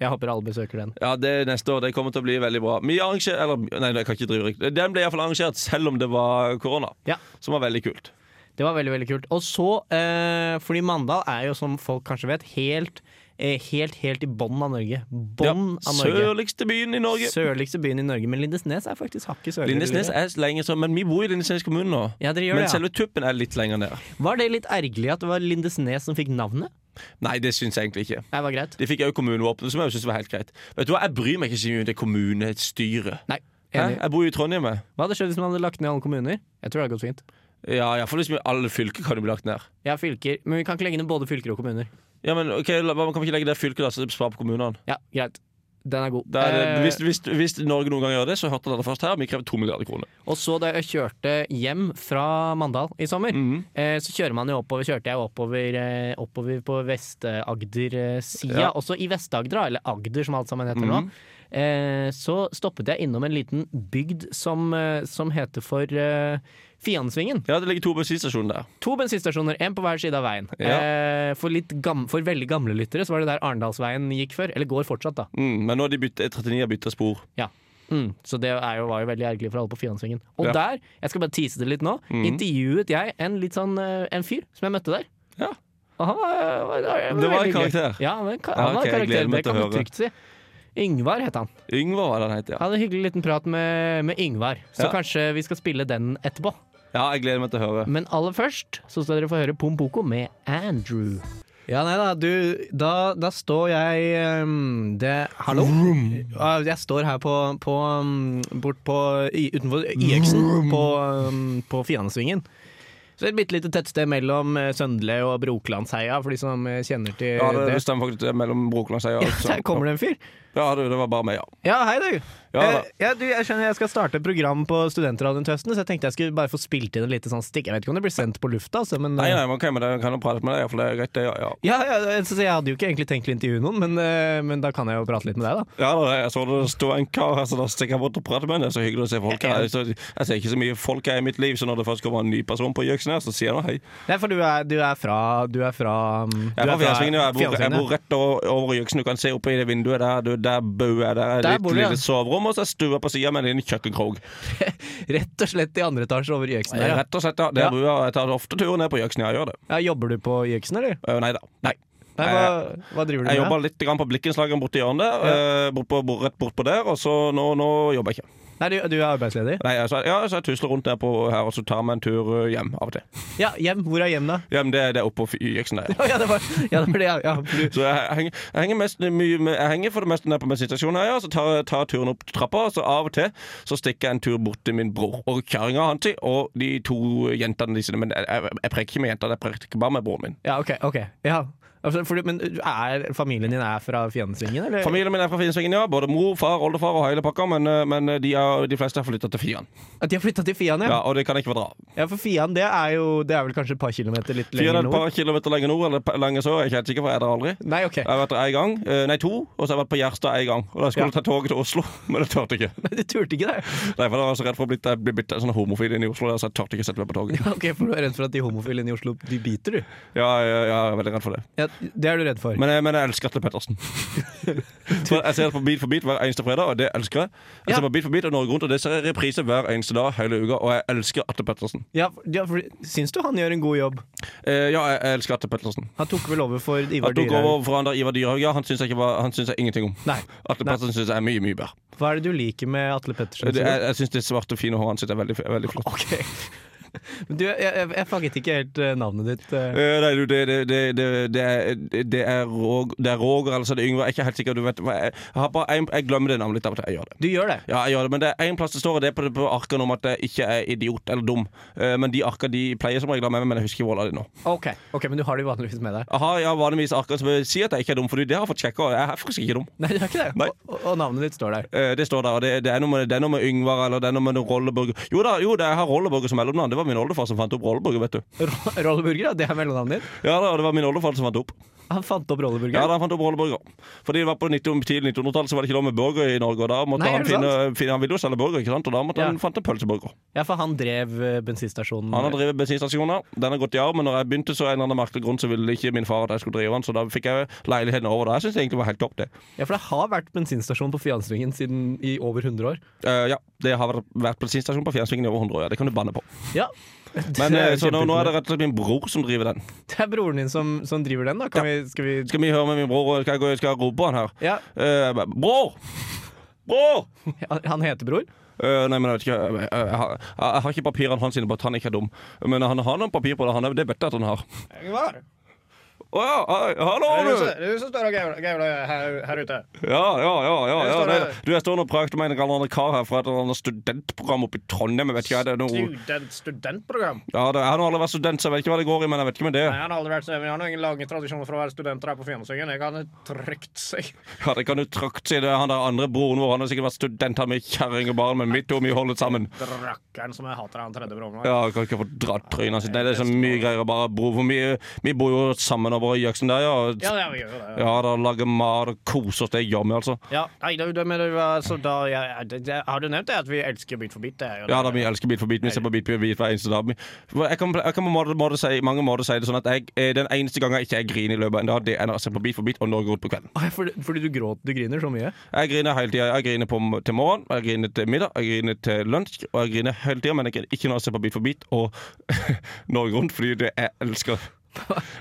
[SPEAKER 1] Jeg håper alle besøker den.
[SPEAKER 2] Ja, det er neste år. Det kommer til å bli veldig bra. Vi arranger- eller, nei, jeg kan ikke drive rykte. Den ble iallfall arrangert selv om det var korona,
[SPEAKER 1] Ja.
[SPEAKER 2] som var veldig kult.
[SPEAKER 1] Det var veldig, veldig kult. Og så, eh, fordi Mandal er jo, som folk kanskje vet, helt, eh, helt, helt i bånn av Norge. Bånn
[SPEAKER 2] Ja,
[SPEAKER 1] av Norge.
[SPEAKER 2] Sørligste byen i Norge.
[SPEAKER 1] Sørligste byen i Norge, men Lindesnes er faktisk hakket sørligere.
[SPEAKER 2] Lindesnes er lenger sånn, men vi bor i Lindesnes kommune nå.
[SPEAKER 1] Ja, dere gjør
[SPEAKER 2] men
[SPEAKER 1] det, ja.
[SPEAKER 2] selve tuppen er litt lenger ned.
[SPEAKER 1] Var det litt ergerlig at det var Lindesnes som fikk navnet?
[SPEAKER 2] Nei, det syns jeg egentlig ikke.
[SPEAKER 1] Nei, det var greit.
[SPEAKER 2] De fikk òg kommunevåpen, som jeg synes var helt greit. Vet du hva, Jeg bryr meg ikke så mye om det kommunestyret.
[SPEAKER 1] Nei,
[SPEAKER 2] Hæ?
[SPEAKER 1] enig.
[SPEAKER 2] Jeg bor jo i Trondheim. jeg.
[SPEAKER 1] Hva hadde skjedd hvis man hadde lagt ned alle kommuner? Jeg tror det hadde gått fint.
[SPEAKER 2] Ja, iallfall hvis vi- alle fylker kan jo bli lagt ned.
[SPEAKER 1] Ja, fylker, men vi kan ikke legge ned både fylker og kommuner.
[SPEAKER 2] Ja, men ok, la- Kan vi ikke legge det fylket, da, så det sparer på kommunene?
[SPEAKER 1] Ja, greit. Den er god.
[SPEAKER 2] Det er-
[SPEAKER 1] Eh,
[SPEAKER 2] hvis, hvis, hvis Norge noen gang gjør det, så hørte dere det først her. Vi krever to milliarder kroner.
[SPEAKER 1] Og så da jeg kjørte hjem fra Mandal i sommer,
[SPEAKER 2] Mhm.
[SPEAKER 1] eh, så kjører man jo oppover, kjørte jeg oppover, eh, oppover på Vest-Agder-sida.
[SPEAKER 2] Ja. Mhm.
[SPEAKER 1] Også i Vest-Agder, eller Agder som alt sammen heter nå. Eh, så stoppet jeg innom en liten bygd som, eh, som heter for eh, Fiansvingen.
[SPEAKER 2] Ja, Det ligger to bensinstasjoner der.
[SPEAKER 1] To bensinstasjoner, én på hver side av veien.
[SPEAKER 2] Ja.
[SPEAKER 1] Eh, for, litt gam for veldig gamle lyttere så var det der Arendalsveien gikk før. Eller går fortsatt, da.
[SPEAKER 2] Mm, men nå har de byttet, 39 har bytta spor.
[SPEAKER 1] Mm, så det er jo, var jo veldig ergerlig for alle på Fiansvingen. Og
[SPEAKER 2] Ja. Mm.
[SPEAKER 1] der, jeg skal bare tease det litt nå, intervjuet jeg en litt sånn eh, En fyr som jeg møtte der.
[SPEAKER 2] Ja.
[SPEAKER 1] Og han var, var, var,
[SPEAKER 2] Det var
[SPEAKER 1] veldig
[SPEAKER 2] en
[SPEAKER 1] hyggelig.
[SPEAKER 2] karakter.
[SPEAKER 1] Ja, han var en ka-
[SPEAKER 2] Ja,
[SPEAKER 1] han var
[SPEAKER 2] ok,
[SPEAKER 1] en
[SPEAKER 2] jeg gleder
[SPEAKER 1] karakter.
[SPEAKER 2] meg
[SPEAKER 1] Det
[SPEAKER 2] til å
[SPEAKER 1] kan man
[SPEAKER 2] høre.
[SPEAKER 1] trygt si. Yngvar het han.
[SPEAKER 2] Yngvar var den het, ja.
[SPEAKER 1] Jeg hadde en hyggelig liten prat med, med Yngvar, så
[SPEAKER 2] Ja.
[SPEAKER 1] kanskje vi skal spille den etterpå.
[SPEAKER 2] Ja, jeg gleder meg til å høre.
[SPEAKER 1] Men aller først så skal dere få høre Pompoko med Andrew. Ja, nei da, du Da, da står jeg ehm, det, Hallo? Ja, Jeg står her på, på um, Bort på i, Utenfor IX-en, på, um, på Fianesvingen. Så et bitte lite tettsted mellom eh, Søndle og Brokelandsheia, for de som eh, kjenner til
[SPEAKER 2] Ja, det,
[SPEAKER 1] det.
[SPEAKER 2] det stemmer faktisk det er mellom Brokelandsheia og
[SPEAKER 1] Ja, der kommer det en fyr.
[SPEAKER 2] Ja, du, det var bare meg, ja.
[SPEAKER 1] Ja, hei, du.
[SPEAKER 2] Ja, da.
[SPEAKER 1] Eh, ja, du. Jeg skjønner jeg skal starte et program på Studentradioen til høsten, så jeg tenkte jeg skulle bare få spilt inn et lite sånn stikk. Jeg vet ikke om det blir sendt på lufta, altså, men
[SPEAKER 2] Nei, nei, man kan, men det, kan jo prate med deg, for det er greit, det. Ja, ja.
[SPEAKER 1] Ja, ja så jeg hadde jo ikke egentlig tenkt å intervjue noen, men, eh, men da kan jeg jo prate litt med deg, da.
[SPEAKER 2] ja da, jeg så det sto en kar her, så da stikker jeg bort og prater med ham. Det er så hyggelig å se folk her. Jeg, så, jeg ser ikke så mye folk her i mitt liv, så når det først kommer en ny person på Gjøksen her, så sier han hei.
[SPEAKER 1] Nei, for du er, du er fra Du er fra mm, du
[SPEAKER 2] Jeg er
[SPEAKER 1] er
[SPEAKER 2] fra Fjernsvingen, og jeg bor, jeg
[SPEAKER 1] Fjernsvingen, ja.
[SPEAKER 2] bor rett over, over Gjøksen. Du kan se opp i det vinduet der, du, der bor jeg. Der er
[SPEAKER 1] Der
[SPEAKER 2] et
[SPEAKER 1] bor du,
[SPEAKER 2] lite,
[SPEAKER 1] ja.
[SPEAKER 2] lite soverom, og så er stua på sida med en liten kjøkkenkrok.
[SPEAKER 1] *laughs* Rett og slett i andre etasje over Gjøksen. der, Ja.
[SPEAKER 2] Rett og slett, ja. Der
[SPEAKER 1] Ja.
[SPEAKER 2] bor jeg. Jeg tar ofte turen ned på Gjøksen, jeg gjør det.
[SPEAKER 1] Ja, jobber du på Gjøksen, eller?
[SPEAKER 2] Øh, Nei da. Nei.
[SPEAKER 1] Nei, hva, hva driver du
[SPEAKER 2] Jeg
[SPEAKER 1] med?
[SPEAKER 2] jobba litt grann på blikkenslageren borti hjørnet. eh, Bort på, bort, rett bortpå der, og så nå, nå jobber jeg ikke.
[SPEAKER 1] da? Nei, du, du er arbeidsledig?
[SPEAKER 2] Nei, altså, ja, så jeg tusler rundt der på her, og så tar vi en tur eh, hjem av og til.
[SPEAKER 1] Ja, hjem. Hvor er hjem, da?
[SPEAKER 2] Hjem, det, det er oppå Gjøksen der. ja.
[SPEAKER 1] Å, ja, det var, ja, det var det, ja. ja for du,
[SPEAKER 2] Så jeg, jeg, henger, jeg, henger mest, mye, med- jeg henger for det meste ned på bensinstasjonen her, ja, så tar jeg tar turen opp trappa. Og så av og til så stikker jeg en tur bort til min bror og kjerringa hans og de to jentene de sine. Men jeg, jeg, jeg preker ikke med jentene, jeg preker bare med broren min.
[SPEAKER 1] ja, OK. ok ja. Altså, for du- men du er, familien din er fra Fjernsvingen, eller?
[SPEAKER 2] Familien min er fra Finnsvingen, ja. Både mor, far, oldefar og hele pakka. Men, eh, men de, er, de fleste har flytta til Fian.
[SPEAKER 1] At de har flytta til Fian, ja.
[SPEAKER 2] Ja, og det kan jeg ikke fordra.
[SPEAKER 1] ja? For Fian, det er jo Det er vel kanskje et par kilometer litt
[SPEAKER 2] Fire
[SPEAKER 1] lenger
[SPEAKER 2] et
[SPEAKER 1] nord?
[SPEAKER 2] par kilometer lenger nord, eller lenger sør, jeg er ikke helt sikker, for jeg er der aldri.
[SPEAKER 1] Nei, OK.
[SPEAKER 2] Jeg har vært der én gang, eh, nei to, og så har jeg vært på Gjerstad én gang. Og da skulle
[SPEAKER 1] Ja.
[SPEAKER 2] jeg ta toget til Oslo, *laughs* men det turte jeg ikke.
[SPEAKER 1] *laughs* Du turte ikke det?
[SPEAKER 2] Nei, for da var jeg så redd for å bli, jeg bli bitt sånn homofil inn i Oslo, der, så jeg turte ikke sette meg på toget.
[SPEAKER 1] *laughs* Ok, For du er redd for at de homofile inne i Oslo de biter, du?
[SPEAKER 2] Ja, ja, ja, jeg er veldig redd for det.
[SPEAKER 1] Ja, det er du redd for.
[SPEAKER 2] Men, jeg- men jeg elsker Atle
[SPEAKER 1] *laughs*
[SPEAKER 2] Pettersen. For jeg ser det på Beat for beat hver eneste fredag, og det elsker jeg. Jeg ser
[SPEAKER 1] Ja.
[SPEAKER 2] på Beat for beat og Norge Rundt, og det ser jeg i reprise hver eneste dag hele uka, og jeg elsker Atle Pettersen.
[SPEAKER 1] ja, for- ja, for, syns du han gjør en god jobb?
[SPEAKER 2] Eh, ja, jeg elsker Atle Pettersen.
[SPEAKER 1] Han tok vel over for Ivar
[SPEAKER 2] At du går
[SPEAKER 1] Dyrhaug?
[SPEAKER 2] over for han der Ivar Dyrhaug, ja, han syns jeg, ikke var- han syns jeg ingenting om.
[SPEAKER 1] Nei.
[SPEAKER 2] Atle
[SPEAKER 1] Nei.
[SPEAKER 2] Pettersen syns jeg er mye, mye bedre.
[SPEAKER 1] Hva er det du liker med Atle Pettersen?
[SPEAKER 2] Det,
[SPEAKER 1] sier du?
[SPEAKER 2] jeg jeg syns det svarte, fine håret hans sitt er veldig, veldig flott.
[SPEAKER 1] Ok. *laughs* Men du, jeg, jeg, jeg fanget ikke helt eh, navnet ditt. eh.
[SPEAKER 2] Eh, Nei, du, det, det, det, det, det, er, det, er Roger, det er Roger, altså det er Yngve. Jeg er ikke helt sikker. Du vet, hva, jeg, jeg, har bare, en- jeg glemmer det navnet litt av og til. Jeg gjør det.
[SPEAKER 1] Du gjør det.
[SPEAKER 2] Ja, jeg gjør det, men det er en plass det står, og det er på, på arkene om at jeg ikke er idiot eller dum. Eh, men de arkene de pleier som regel å ha med meg, men jeg husker ikke hva de nå.
[SPEAKER 1] Ok, ok, Men du har det jo vanligvis med deg.
[SPEAKER 2] Jeg har ja, vanligvis arkene som sier at jeg ikke er dum, Fordi det har jeg fått sjekka, og jeg er faktisk ikke dum.
[SPEAKER 1] Nei, du er ikke
[SPEAKER 2] Nei.
[SPEAKER 1] det. Og, og- og navnet ditt står der.
[SPEAKER 2] Eh, det står der, og det, det, er noe med, det er noe med Yngvar eller det er noe med noe rolleburger. Jo da, jo, det, jeg har rolleburger som mellomnavn. Det var min oldefar som fant opp rolleburger, vet du.
[SPEAKER 1] Ro- Rolleburger, ja. Det er mellomnavnet ditt.
[SPEAKER 2] Ja da, det var min oldefar som fant opp.
[SPEAKER 1] Han fant opp
[SPEAKER 2] Ja,
[SPEAKER 1] rolleburger.
[SPEAKER 2] da han fant opp rolleburger. Fordi det var på 19, tidlig 1900-tallet så var det ikke lov med burger i Norge. Og da måtte
[SPEAKER 1] Nei, er
[SPEAKER 2] han
[SPEAKER 1] det
[SPEAKER 2] finne, finne Han ville jo selge burger, ikke sant? Og da måtte
[SPEAKER 1] Ja. Mm.
[SPEAKER 2] han fant en pølseburger.
[SPEAKER 1] Ja, for han drev eh, bensinstasjonen.
[SPEAKER 2] Han har drevet bensinstasjoner. Den har gått i arv, men når jeg begynte, så av en eller annen merkelig grunn så ville ikke min far at jeg skulle drive den, så da fikk jeg leiligheten over. Da. Jeg syns det egentlig var helt topp, det.
[SPEAKER 1] Ja, for det har vært bensinstasjon på Fjansvingen siden i over 100 år.
[SPEAKER 2] Eh, ja, det har vært- vært bensinstasjon på Fjernsvingen i over 100 år, ja. Det kan du banne på.
[SPEAKER 1] Ja.
[SPEAKER 2] Men,
[SPEAKER 1] Det
[SPEAKER 2] eh,
[SPEAKER 1] er
[SPEAKER 2] så nå, nå er det
[SPEAKER 1] kjempeimponerende.
[SPEAKER 2] rett og slett min bror som driver den.
[SPEAKER 1] Det er broren din som, som driver den, da. Kan vi, skal vi
[SPEAKER 2] Skal vi høre med min bror? og Skal jeg, gå- skal jeg rope på han her?
[SPEAKER 1] Ja,
[SPEAKER 2] Eh, bror! Bror!
[SPEAKER 1] han heter Bror.
[SPEAKER 2] Eh, nei, men jeg vet ikke Jeg, jeg, jeg, har- jeg har ikke papirene hans inne på at han ikke er dum. Men han har noen papir på det. Han er, det vet jeg at han har.
[SPEAKER 3] Yngvar,
[SPEAKER 2] Å ja, hei, hallo,
[SPEAKER 3] det
[SPEAKER 2] du!
[SPEAKER 3] er du som står og gaula her, her ute.
[SPEAKER 2] Ja, ja, ja. ja, ja
[SPEAKER 3] står
[SPEAKER 2] nei,
[SPEAKER 3] der.
[SPEAKER 2] du, jeg står nå og prater med en eller annen kar her fra et eller annet studentprogram oppe i Trondheim. Jeg vet ikke, hva det er noe
[SPEAKER 3] Student, studentprogram.
[SPEAKER 2] ja, det, Jeg har nå aldri vært student, så jeg vet ikke hva det går i, men jeg vet ikke med det.
[SPEAKER 3] Nei, han har aldri vært så- Vi har noen lange tradisjoner for å være studenter her på Fjernsøyen. Jeg kan trygt si
[SPEAKER 2] Ja, det kan du trakt si. Det er han der andre broren vår. Han har sikkert vært student, han med kjerring og barn, men mitt og vi holder sammen.
[SPEAKER 3] Drakkeren som jeg hater, han tredje broren vår.
[SPEAKER 2] Ja, jeg kan ikke få dratt trynet sitt. Nei, det er så mye greier å bare bo for mye. Vi bor jo sammen over i Jøksen der, ja.
[SPEAKER 3] Ja, ja, vi gjør jo det.
[SPEAKER 2] Ja, da lager mat og koser oss. Det gjør vi, altså.
[SPEAKER 3] Ja, nei, det, det, men det var, så da, ja, det, det, Har du nevnt det at vi elsker Bit for bit? Det er jo
[SPEAKER 2] Ja da, vi elsker Bit for bit. Vi ser på Bit for bit hver eneste dag. For Jeg kan, jeg kan på måte, måte si, mange måter si det sånn at jeg, eh, den eneste gangen jeg ikke griner i løpet av en dag, det er når jeg ser på Bit for bit og Norge Rundt på kvelden.
[SPEAKER 1] Å, ja, Fordi, fordi du gråter, du griner så mye.
[SPEAKER 2] Jeg griner hele tida. Jeg griner på, m- til morgen, jeg griner til middag, jeg griner til lunsj, og jeg griner hele tida, men jeg griner ikke når jeg ser på Bit for bit og *laughs* Norge Rundt, fordi det jeg elsker.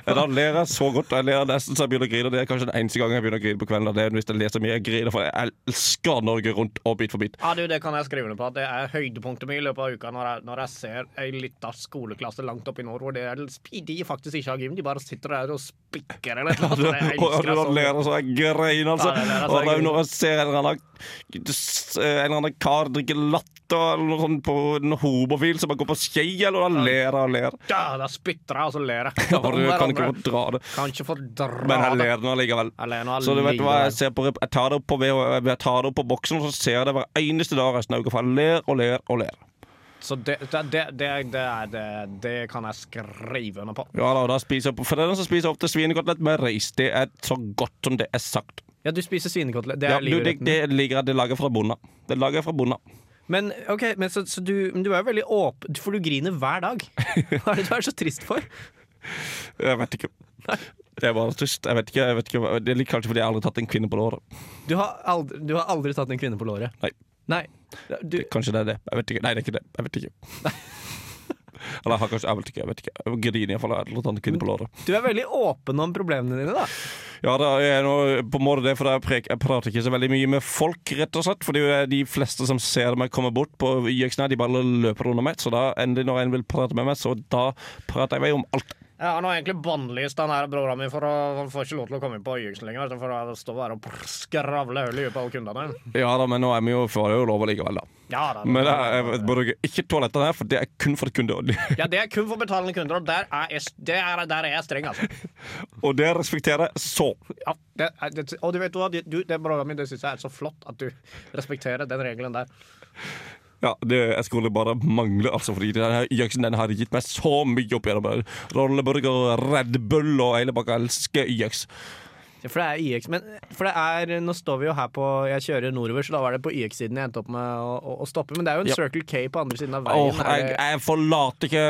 [SPEAKER 2] Ja, Da ler jeg så godt. Jeg ler nesten så jeg begynner å grine. Det er kanskje den eneste gangen jeg begynner å grine på kvelden. og Det er hvis jeg leser mye. Jeg griner, for jeg elsker Norge Rundt og Bit for bit.
[SPEAKER 3] Ja, du, Det kan jeg skrive under på. at Det er høydepunktet mitt i løpet av uka når jeg, når jeg ser ei lita skoleklasse langt oppe i nord hvor de, er, de faktisk ikke har gym, de bare sitter der og spikker eller noe.
[SPEAKER 2] *laughs* Og
[SPEAKER 3] sånn
[SPEAKER 2] da ler jeg så jeg grein, altså.
[SPEAKER 3] Ja, det ler jeg så
[SPEAKER 2] Og det er
[SPEAKER 3] jeg
[SPEAKER 2] jo
[SPEAKER 3] grein.
[SPEAKER 2] når jeg ser en eller annen, en eller annen kar drikke latter eller noe sånt på en homofil som bare går på skei, eller da ler jeg og ler.
[SPEAKER 3] Da, da spytter jeg, og så ler jeg.
[SPEAKER 2] *laughs* Ja, for du kan ikke
[SPEAKER 3] Hverandre.
[SPEAKER 2] få dra det.
[SPEAKER 3] kan ikke få dra
[SPEAKER 2] Men jeg
[SPEAKER 3] det.
[SPEAKER 2] ler nå allikevel.
[SPEAKER 3] Jeg ler nå
[SPEAKER 2] Så du vet hva,
[SPEAKER 3] allikevel.
[SPEAKER 2] jeg ser på Jeg tar det opp på, VHF, jeg tar det opp på boksen, og så ser jeg det hver eneste dag resten av uka. For jeg ler og ler og ler.
[SPEAKER 3] Så det, det, det, det, det, er- det, det kan jeg skrive under på.
[SPEAKER 2] Ja da, og da spiser jeg på For det er den som spiser ofte svinekotelett med reis. Det er så godt som det er sagt.
[SPEAKER 1] Ja, du spiser svinekotelett. Det er
[SPEAKER 2] Ja, du, det,
[SPEAKER 1] livretten.
[SPEAKER 2] det ligger det lager fra bonden. Det lager jeg fra bonden.
[SPEAKER 1] Men ok, men så, så du, men du er jo veldig åpen, for du griner hver
[SPEAKER 2] *laughs*
[SPEAKER 1] dag. Hva er det du er så trist for?
[SPEAKER 2] Jeg vet ikke. Jeg er bare tyst. Jeg vet ikke, jeg vet ikke. hva- Det er litt kanskje fordi jeg aldri har tatt en kvinne på låret.
[SPEAKER 1] Du har aldri, du har aldri tatt en kvinne på låret.
[SPEAKER 2] Nei.
[SPEAKER 1] Nei. Du,
[SPEAKER 2] Det, kanskje det er det. Jeg vet ikke. Nei, det er ikke det. Jeg vet ikke. Eller jeg har kanskje Jeg vet ikke. Jeg vet ikke. Jeg griner iallfall. Jeg har aldri tatt en kvinne på låret.
[SPEAKER 1] du er veldig åpen om problemene dine, da.
[SPEAKER 2] Ja, det er noe, på en måte det, for jeg, prek, jeg prater ikke så veldig mye med folk, rett og slett. Fordi de fleste som ser meg komme bort på Jøksna, de bare løper under meg. Så da, endelig når en vil prate med meg, så da prater jeg i vei om alt.
[SPEAKER 3] Ja, Han har egentlig bannlyst han her broren min, for å, han får ikke lov til å komme inn på Øyeksen lenger. vet du, For å stå her og prr- skravle hull i huet på alle kundene.
[SPEAKER 2] Ja da, men nå er vi jo får jeg jo lov likevel, da.
[SPEAKER 3] Ja, da,
[SPEAKER 2] Men jeg, jeg bruker ikke toalettene her, for det er kun for kunder. Og det,
[SPEAKER 3] ja, Det er kun for betalende kunder, og der er jeg, det er, der er jeg streng, altså.
[SPEAKER 2] og det respekterer jeg så.
[SPEAKER 3] Ja, det er, det, og du vet hva, du, du- det broren min, det syns jeg er så flott at du respekterer den regelen der.
[SPEAKER 2] Ja, det jeg skulle bare mangle, altså, fordi den her Jøksen den har gitt meg så mye opp gjennom. Rolleburger, Red Bull og hele bakka. Elsker Jøks.
[SPEAKER 1] For det er YX. Men for det er, nå står vi jo her på Jeg kjører nordover, så da var det på YX-siden jeg endte opp med å, å, å stoppe. Men det er jo en
[SPEAKER 2] Ja.
[SPEAKER 1] Circle K på andre siden av veien.
[SPEAKER 2] Åh,
[SPEAKER 1] er
[SPEAKER 2] jeg,
[SPEAKER 1] det-
[SPEAKER 2] jeg forlater ikke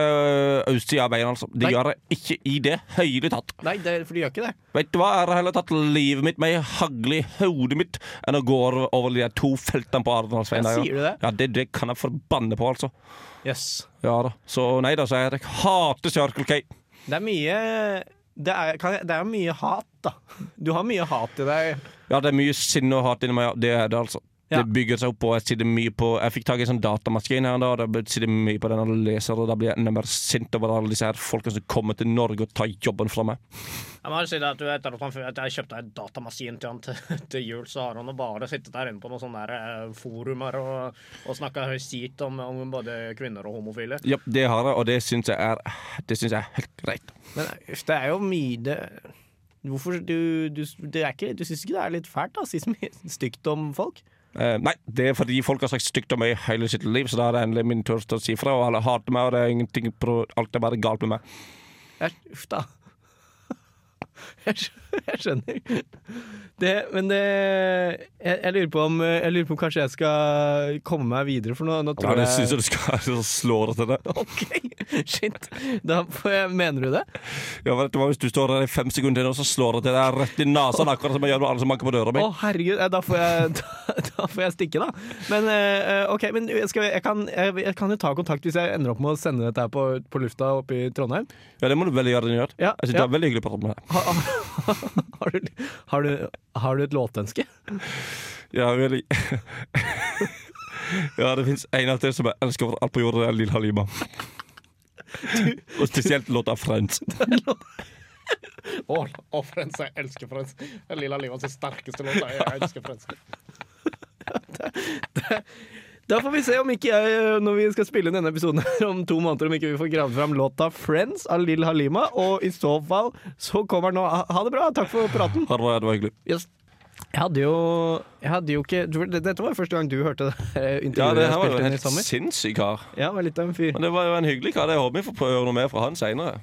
[SPEAKER 2] østsida av veien, altså. Det
[SPEAKER 1] Nei.
[SPEAKER 2] gjør jeg ikke i det hele tatt.
[SPEAKER 1] Nei, det, for de gjør ikke det.
[SPEAKER 2] Vet du hva, jeg har heller tatt livet mitt med ei hagle i hodet mitt enn å gå over, over de der to feltene på Arendalsveien.
[SPEAKER 1] Ja,
[SPEAKER 2] der,
[SPEAKER 1] sier du det?
[SPEAKER 2] Ja, det, det kan jeg forbanne på, altså.
[SPEAKER 1] Jøss.
[SPEAKER 2] Ja da. Så nei da, så jeg, jeg hater Circle K.
[SPEAKER 1] Det er mye det er, kan jeg, det er mye hat, da. Du har mye hat i deg.
[SPEAKER 2] Ja, det er mye sinne og hat inni meg, ja. Det er det, altså.
[SPEAKER 1] Ja.
[SPEAKER 2] Det bygger seg opp, og jeg sitter mye på Jeg fikk tak i en sånn datamaskin her en dag, og jeg sitter mye på den og leser, og da blir jeg enda mer sint over alle disse her folkene som kommer til Norge og tar jobben fra meg.
[SPEAKER 3] Jeg må jo si det at du vet, at han- at jeg kjøpte en datamaskin til *laughs* han til, til jul, så har han jo bare sittet der inne på noen sånne der, eh, forumer og, og snakka høysit om, om både kvinner og homofile.
[SPEAKER 2] Ja, det har jeg, og det syns jeg er Det syns jeg er helt greit.
[SPEAKER 1] Men uff, det er jo mye det Hvorfor Du, du, det er ikke, du syns ikke det er litt fælt da, å si så mye stygt om folk?
[SPEAKER 2] Eh, nei, det er fordi folk har sagt stygt om meg i hele sitt liv, så da er det endelig min tur til å si fra, og alle hater meg, og det er ingenting pro- Alt er bare galt med meg.
[SPEAKER 1] Jeg, uff da. *laughs* Jeg, skj- jeg skjønner. Det, men det jeg, jeg, lurer på om, eh, jeg lurer på om kanskje jeg skal komme meg videre, for nå, nå
[SPEAKER 2] Ja,
[SPEAKER 1] tror
[SPEAKER 2] det syns
[SPEAKER 1] jeg *laughs*
[SPEAKER 2] jeg du skal slå deg til det.
[SPEAKER 1] OK, shit. Da får jeg, mener du det?
[SPEAKER 2] Ja, vet du hva, Hvis du står der i fem sekunder til nå, så slår det til deg rett i nesen, akkurat som jeg gjør med alle som banker på
[SPEAKER 1] Å,
[SPEAKER 2] døra mi.
[SPEAKER 1] herregud. eh, Da får, jeg, *laughs* da, da får jeg stikke, da. Men eh, OK, men jeg, skal, jeg, kan, jeg, jeg kan jo ta kontakt hvis jeg ender opp med å sende dette her på, på lufta oppe i Trondheim.
[SPEAKER 2] Ja, det må du veldig gjøre. Njørt.
[SPEAKER 1] Ja,
[SPEAKER 2] Jeg synes
[SPEAKER 1] ja.
[SPEAKER 2] det er veldig hyggelig å prate med deg.
[SPEAKER 1] Har, *laughs* har, du, har, du, har du et låtønske?
[SPEAKER 2] Ja, veldig. *laughs* ja, det fins en av til som jeg elsker over alt på jorda, det er Lill Halima. Og spesielt låta 'Friends'.
[SPEAKER 3] Å, å, Frens, jeg elsker Frens. Det er Lilla Livans sterkeste låt. Jeg elsker Frens.
[SPEAKER 1] Da får vi se om ikke jeg, eh, når vi skal spille inn denne episoden her om to måneder, om ikke vi får gravd fram låta 'Friends' av Lill Halima. Og i så fall så kommer den nå. Ha- Ha det bra, takk for praten.
[SPEAKER 2] Ha det bra, det var hyggelig.
[SPEAKER 1] Jeg hadde jo, jeg hadde jo ikke du- det- Dette var første gang du hørte det her
[SPEAKER 2] Ja,
[SPEAKER 1] intervjuet
[SPEAKER 2] det
[SPEAKER 1] jeg
[SPEAKER 2] her var
[SPEAKER 1] spilte
[SPEAKER 2] jo
[SPEAKER 1] inn i
[SPEAKER 2] helt
[SPEAKER 1] sommer.
[SPEAKER 2] sinnssyk kar.
[SPEAKER 1] Ja, det var litt av en fyr.
[SPEAKER 2] Men det var jo en hyggelig kar. Jeg håper vi får prøve å høre noe mer fra han seinere.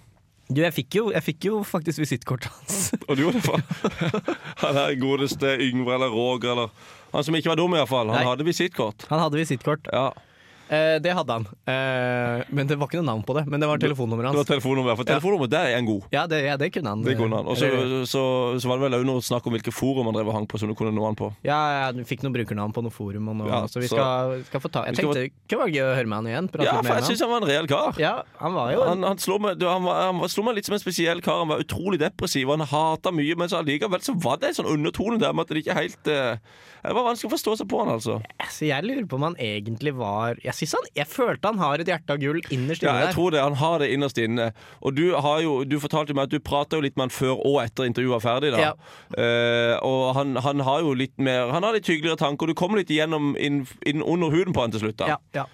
[SPEAKER 1] Du, jeg fikk jo, jeg fikk jo faktisk visittkortet hans.
[SPEAKER 2] Og du gjorde det, faen. *laughs* Han er godeste Yngve eller Roger eller Han som ikke var dum, iallfall.
[SPEAKER 1] Nei.
[SPEAKER 2] Han hadde visittkort.
[SPEAKER 1] *laughs* Han hadde visittkort.
[SPEAKER 2] Ja.
[SPEAKER 1] Eh, det hadde han. Eh, men det var ikke noe navn på det. Men det var telefonnummeret
[SPEAKER 2] Det var
[SPEAKER 1] hans.
[SPEAKER 2] telefonnummeret, for telefonnummeret der er en god.
[SPEAKER 1] Ja, det, ja, det kunne han.
[SPEAKER 2] Det kunne han. Og så,
[SPEAKER 1] Eller-
[SPEAKER 2] så, så var det vel også noe snakk om hvilke forum han drev og hang på, som du kunne nå han på.
[SPEAKER 1] Ja, ja, du fikk noen brukernavn på noen forum, og noe,
[SPEAKER 2] Ja,
[SPEAKER 1] så vi
[SPEAKER 2] så-
[SPEAKER 1] skal, skal få ta Jeg
[SPEAKER 2] Vi
[SPEAKER 1] tenkte
[SPEAKER 2] skal
[SPEAKER 1] det kunne være gøy å høre med han igjen. Prate
[SPEAKER 2] Ja,
[SPEAKER 1] litt
[SPEAKER 2] for
[SPEAKER 1] mer
[SPEAKER 2] jeg
[SPEAKER 1] med
[SPEAKER 2] syns
[SPEAKER 1] han.
[SPEAKER 2] han var en reell kar.
[SPEAKER 1] Ja, han var jo
[SPEAKER 2] Han, han, slo meg, du, han, var, han var- slo meg litt som en spesiell kar. Han var utrolig depressiv, og han hata mye, men så allikevel så var det en sånn undertone der med at det ikke helt eh, Det var vanskelig å forstå seg på han, altså.
[SPEAKER 1] Så jeg lurer på om han egentlig var Jeg synes han, jeg følte han har et hjerte av gull innerst
[SPEAKER 2] Ja,
[SPEAKER 1] inne
[SPEAKER 2] jeg
[SPEAKER 1] der.
[SPEAKER 2] tror det. Han har det innerst inne. Og du, har jo, du fortalte jo meg at du prata jo litt med han før og etter intervjuet var ferdig. da
[SPEAKER 1] Ja.
[SPEAKER 2] Eh, Og han, han har jo litt mer Han har litt hyggeligere tanker, og du kom litt igjennom inn, inn under huden på han til slutt. da
[SPEAKER 1] Ja, ja.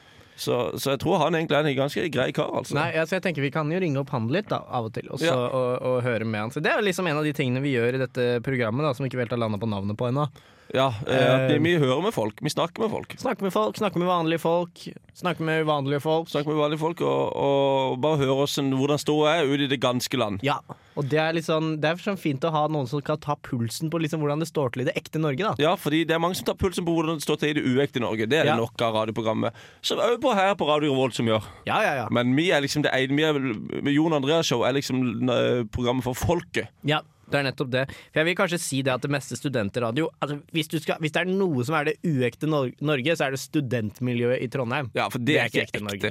[SPEAKER 2] Så, så jeg tror han egentlig er en ganske grei kar, altså.
[SPEAKER 1] Nei, altså jeg tenker Vi kan jo ringe opp han litt da, av og til, og, så,
[SPEAKER 2] Ja.
[SPEAKER 1] og, og høre med han. Så Det er jo liksom en av de tingene vi gjør i dette programmet, da, som vi ikke helt har landa på navnet på ennå.
[SPEAKER 2] Ja, eh,
[SPEAKER 1] Eh,
[SPEAKER 2] vi, vi hører med folk. Vi snakker med folk.
[SPEAKER 1] Snakke med folk, snakke med vanlige folk, snakke med uvanlige folk.
[SPEAKER 2] Snakker med vanlige folk og, og bare høre hvordan, hvordan ståa er ute i det ganske land.
[SPEAKER 1] Ja, og det er litt sånn, det er sånn fint å ha noen som kan ta pulsen på liksom hvordan det står til i det ekte Norge. da
[SPEAKER 2] Ja, fordi det er mange som tar pulsen på hvordan det står til i det uekte Norge. Det er
[SPEAKER 1] Ja.
[SPEAKER 2] det nok av radioprogrammet. Som òg på her på Radio Revolt som gjør.
[SPEAKER 1] Ja, ja, ja.
[SPEAKER 2] Men vi er liksom det ene vi er, Jon Andreas Show er liksom eh, programmet for folket.
[SPEAKER 1] Ja, det er nettopp det. For jeg vil kanskje si det at det meste studentradio altså hvis, du skal, hvis det er noe som er det uekte Nor- Norge, så er det studentmiljøet i Trondheim.
[SPEAKER 2] Ja, for det,
[SPEAKER 1] Det
[SPEAKER 2] er ikke ekte.
[SPEAKER 1] Norge.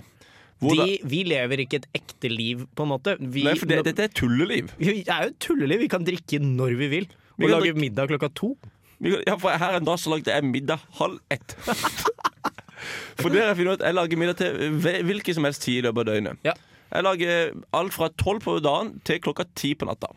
[SPEAKER 2] Hvordan,
[SPEAKER 1] De, vi lever ikke et ekte liv, på en måte. Vi,
[SPEAKER 2] nei, for det, dette er tulleliv.
[SPEAKER 1] vi er jo et tulleliv. Vi kan drikke når vi vil.
[SPEAKER 2] Vi
[SPEAKER 1] Og
[SPEAKER 2] kan
[SPEAKER 1] lage
[SPEAKER 2] drikke-
[SPEAKER 1] middag klokka to.
[SPEAKER 2] Vi kan- Ja, for her en dag så lagde jeg middag halv ett. *laughs* For der har jeg funnet ut at jeg lager middag til hve- hvilken som helst tid i løpet av døgnet.
[SPEAKER 1] Ja.
[SPEAKER 2] Jeg lager alt fra tolv på dagen til klokka ti på *laughs* natta.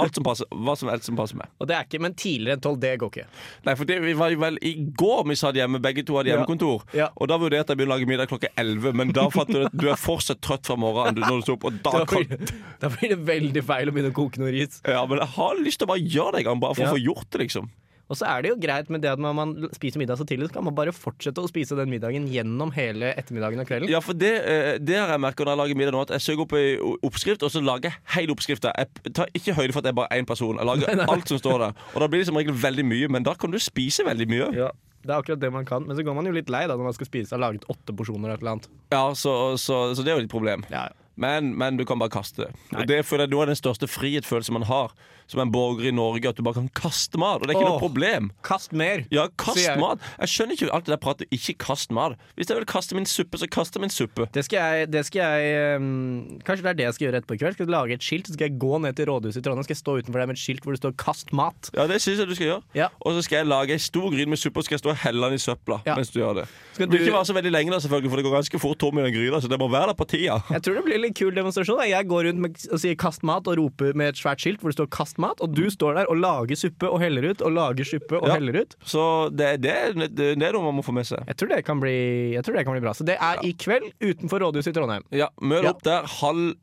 [SPEAKER 2] Alt som passer, Hva som helst som passer meg.
[SPEAKER 1] Og det er ikke, Men tidligere enn tolv, det går ikke.
[SPEAKER 2] Nei, for det vi var jo vel i går vi satt hjemme, begge to hadde
[SPEAKER 1] Ja.
[SPEAKER 2] hjemmekontor.
[SPEAKER 1] Ja.
[SPEAKER 2] Og da vurderte jeg å begynne å lage middag klokka elleve, men da fant du at du er fortsatt trøtt fra morgenen. du- Når du står opp, *laughs* og da
[SPEAKER 1] Da
[SPEAKER 2] kan
[SPEAKER 1] blir, da blir det veldig feil å begynne å koke noe ris.
[SPEAKER 2] ja, men jeg har lyst til å bare gjøre det en gang, bare for
[SPEAKER 1] Ja.
[SPEAKER 2] å få gjort det, liksom.
[SPEAKER 1] Og så er det jo greit med det at når man spiser middag så tidlig, så kan man bare fortsette å spise den middagen gjennom hele ettermiddagen og kvelden.
[SPEAKER 2] Ja, for det, eh, det har jeg merket når jeg lager middag nå, at jeg søker opp ei o- oppskrift, og så lager jeg hele oppskrifta. Jeg tar ikke høyde for at jeg er bare én person. Jeg lager alt som står der. Og da blir det som regel veldig mye, men da kan du spise veldig mye.
[SPEAKER 1] Ja, det er akkurat det man kan. Men så går man jo litt lei da når man skal spise og har laget åtte porsjoner. eller annet.
[SPEAKER 2] Ja, så, så, så det er jo ditt problem.
[SPEAKER 1] Ja,
[SPEAKER 2] Men, men du kan bare kaste det.
[SPEAKER 1] Nei.
[SPEAKER 2] Og det føler jeg nå er den største frihetsfølelsen man har som en borger i Norge at du bare kan kaste mat. Og det er ikke
[SPEAKER 1] Åh.
[SPEAKER 2] noe problem.
[SPEAKER 1] Kast mer!
[SPEAKER 2] Ja, kast
[SPEAKER 1] Sier jeg.
[SPEAKER 2] mat. Jeg skjønner ikke alt det der pratet. Ikke kast mat. Hvis jeg vil kaste min suppe, så kaster jeg min suppe.
[SPEAKER 1] Det skal jeg, det skal jeg ehm, Kanskje det er det jeg skal gjøre etterpå i kveld. Skal jeg lage et skilt, så skal jeg gå ned til rådhuset i Trondheim Skal jeg stå utenfor der med et skilt hvor det står 'kast mat'.
[SPEAKER 2] Ja, det syns jeg du skal gjøre.
[SPEAKER 1] Ja.
[SPEAKER 2] Og så skal jeg lage ei stor gryne med suppe og skal jeg stå og helle den i søpla.
[SPEAKER 1] Ja.
[SPEAKER 2] mens du gjør det
[SPEAKER 1] Skal du-
[SPEAKER 2] Det blir ikke være så veldig lenge, da, selvfølgelig for det går ganske fort tom i den gryna. Så det må være der på tida.
[SPEAKER 1] *laughs* Jeg tror det blir en litt kul demonstrasjon. da. Jeg går rundt med, og sier 'kast mat' og roper med et svært skilt hvor det står 'kast mat', og du står der og lager suppe og heller ut og lager suppe og
[SPEAKER 2] Ja.
[SPEAKER 1] heller ut.
[SPEAKER 2] Så det, det, det, det er noe man må få med seg.
[SPEAKER 1] Jeg tror, det kan bli, jeg tror det kan bli bra. Så det er i kveld utenfor rådhuset i Trondheim.
[SPEAKER 2] Ja, Møt
[SPEAKER 1] Ja.
[SPEAKER 2] opp der halv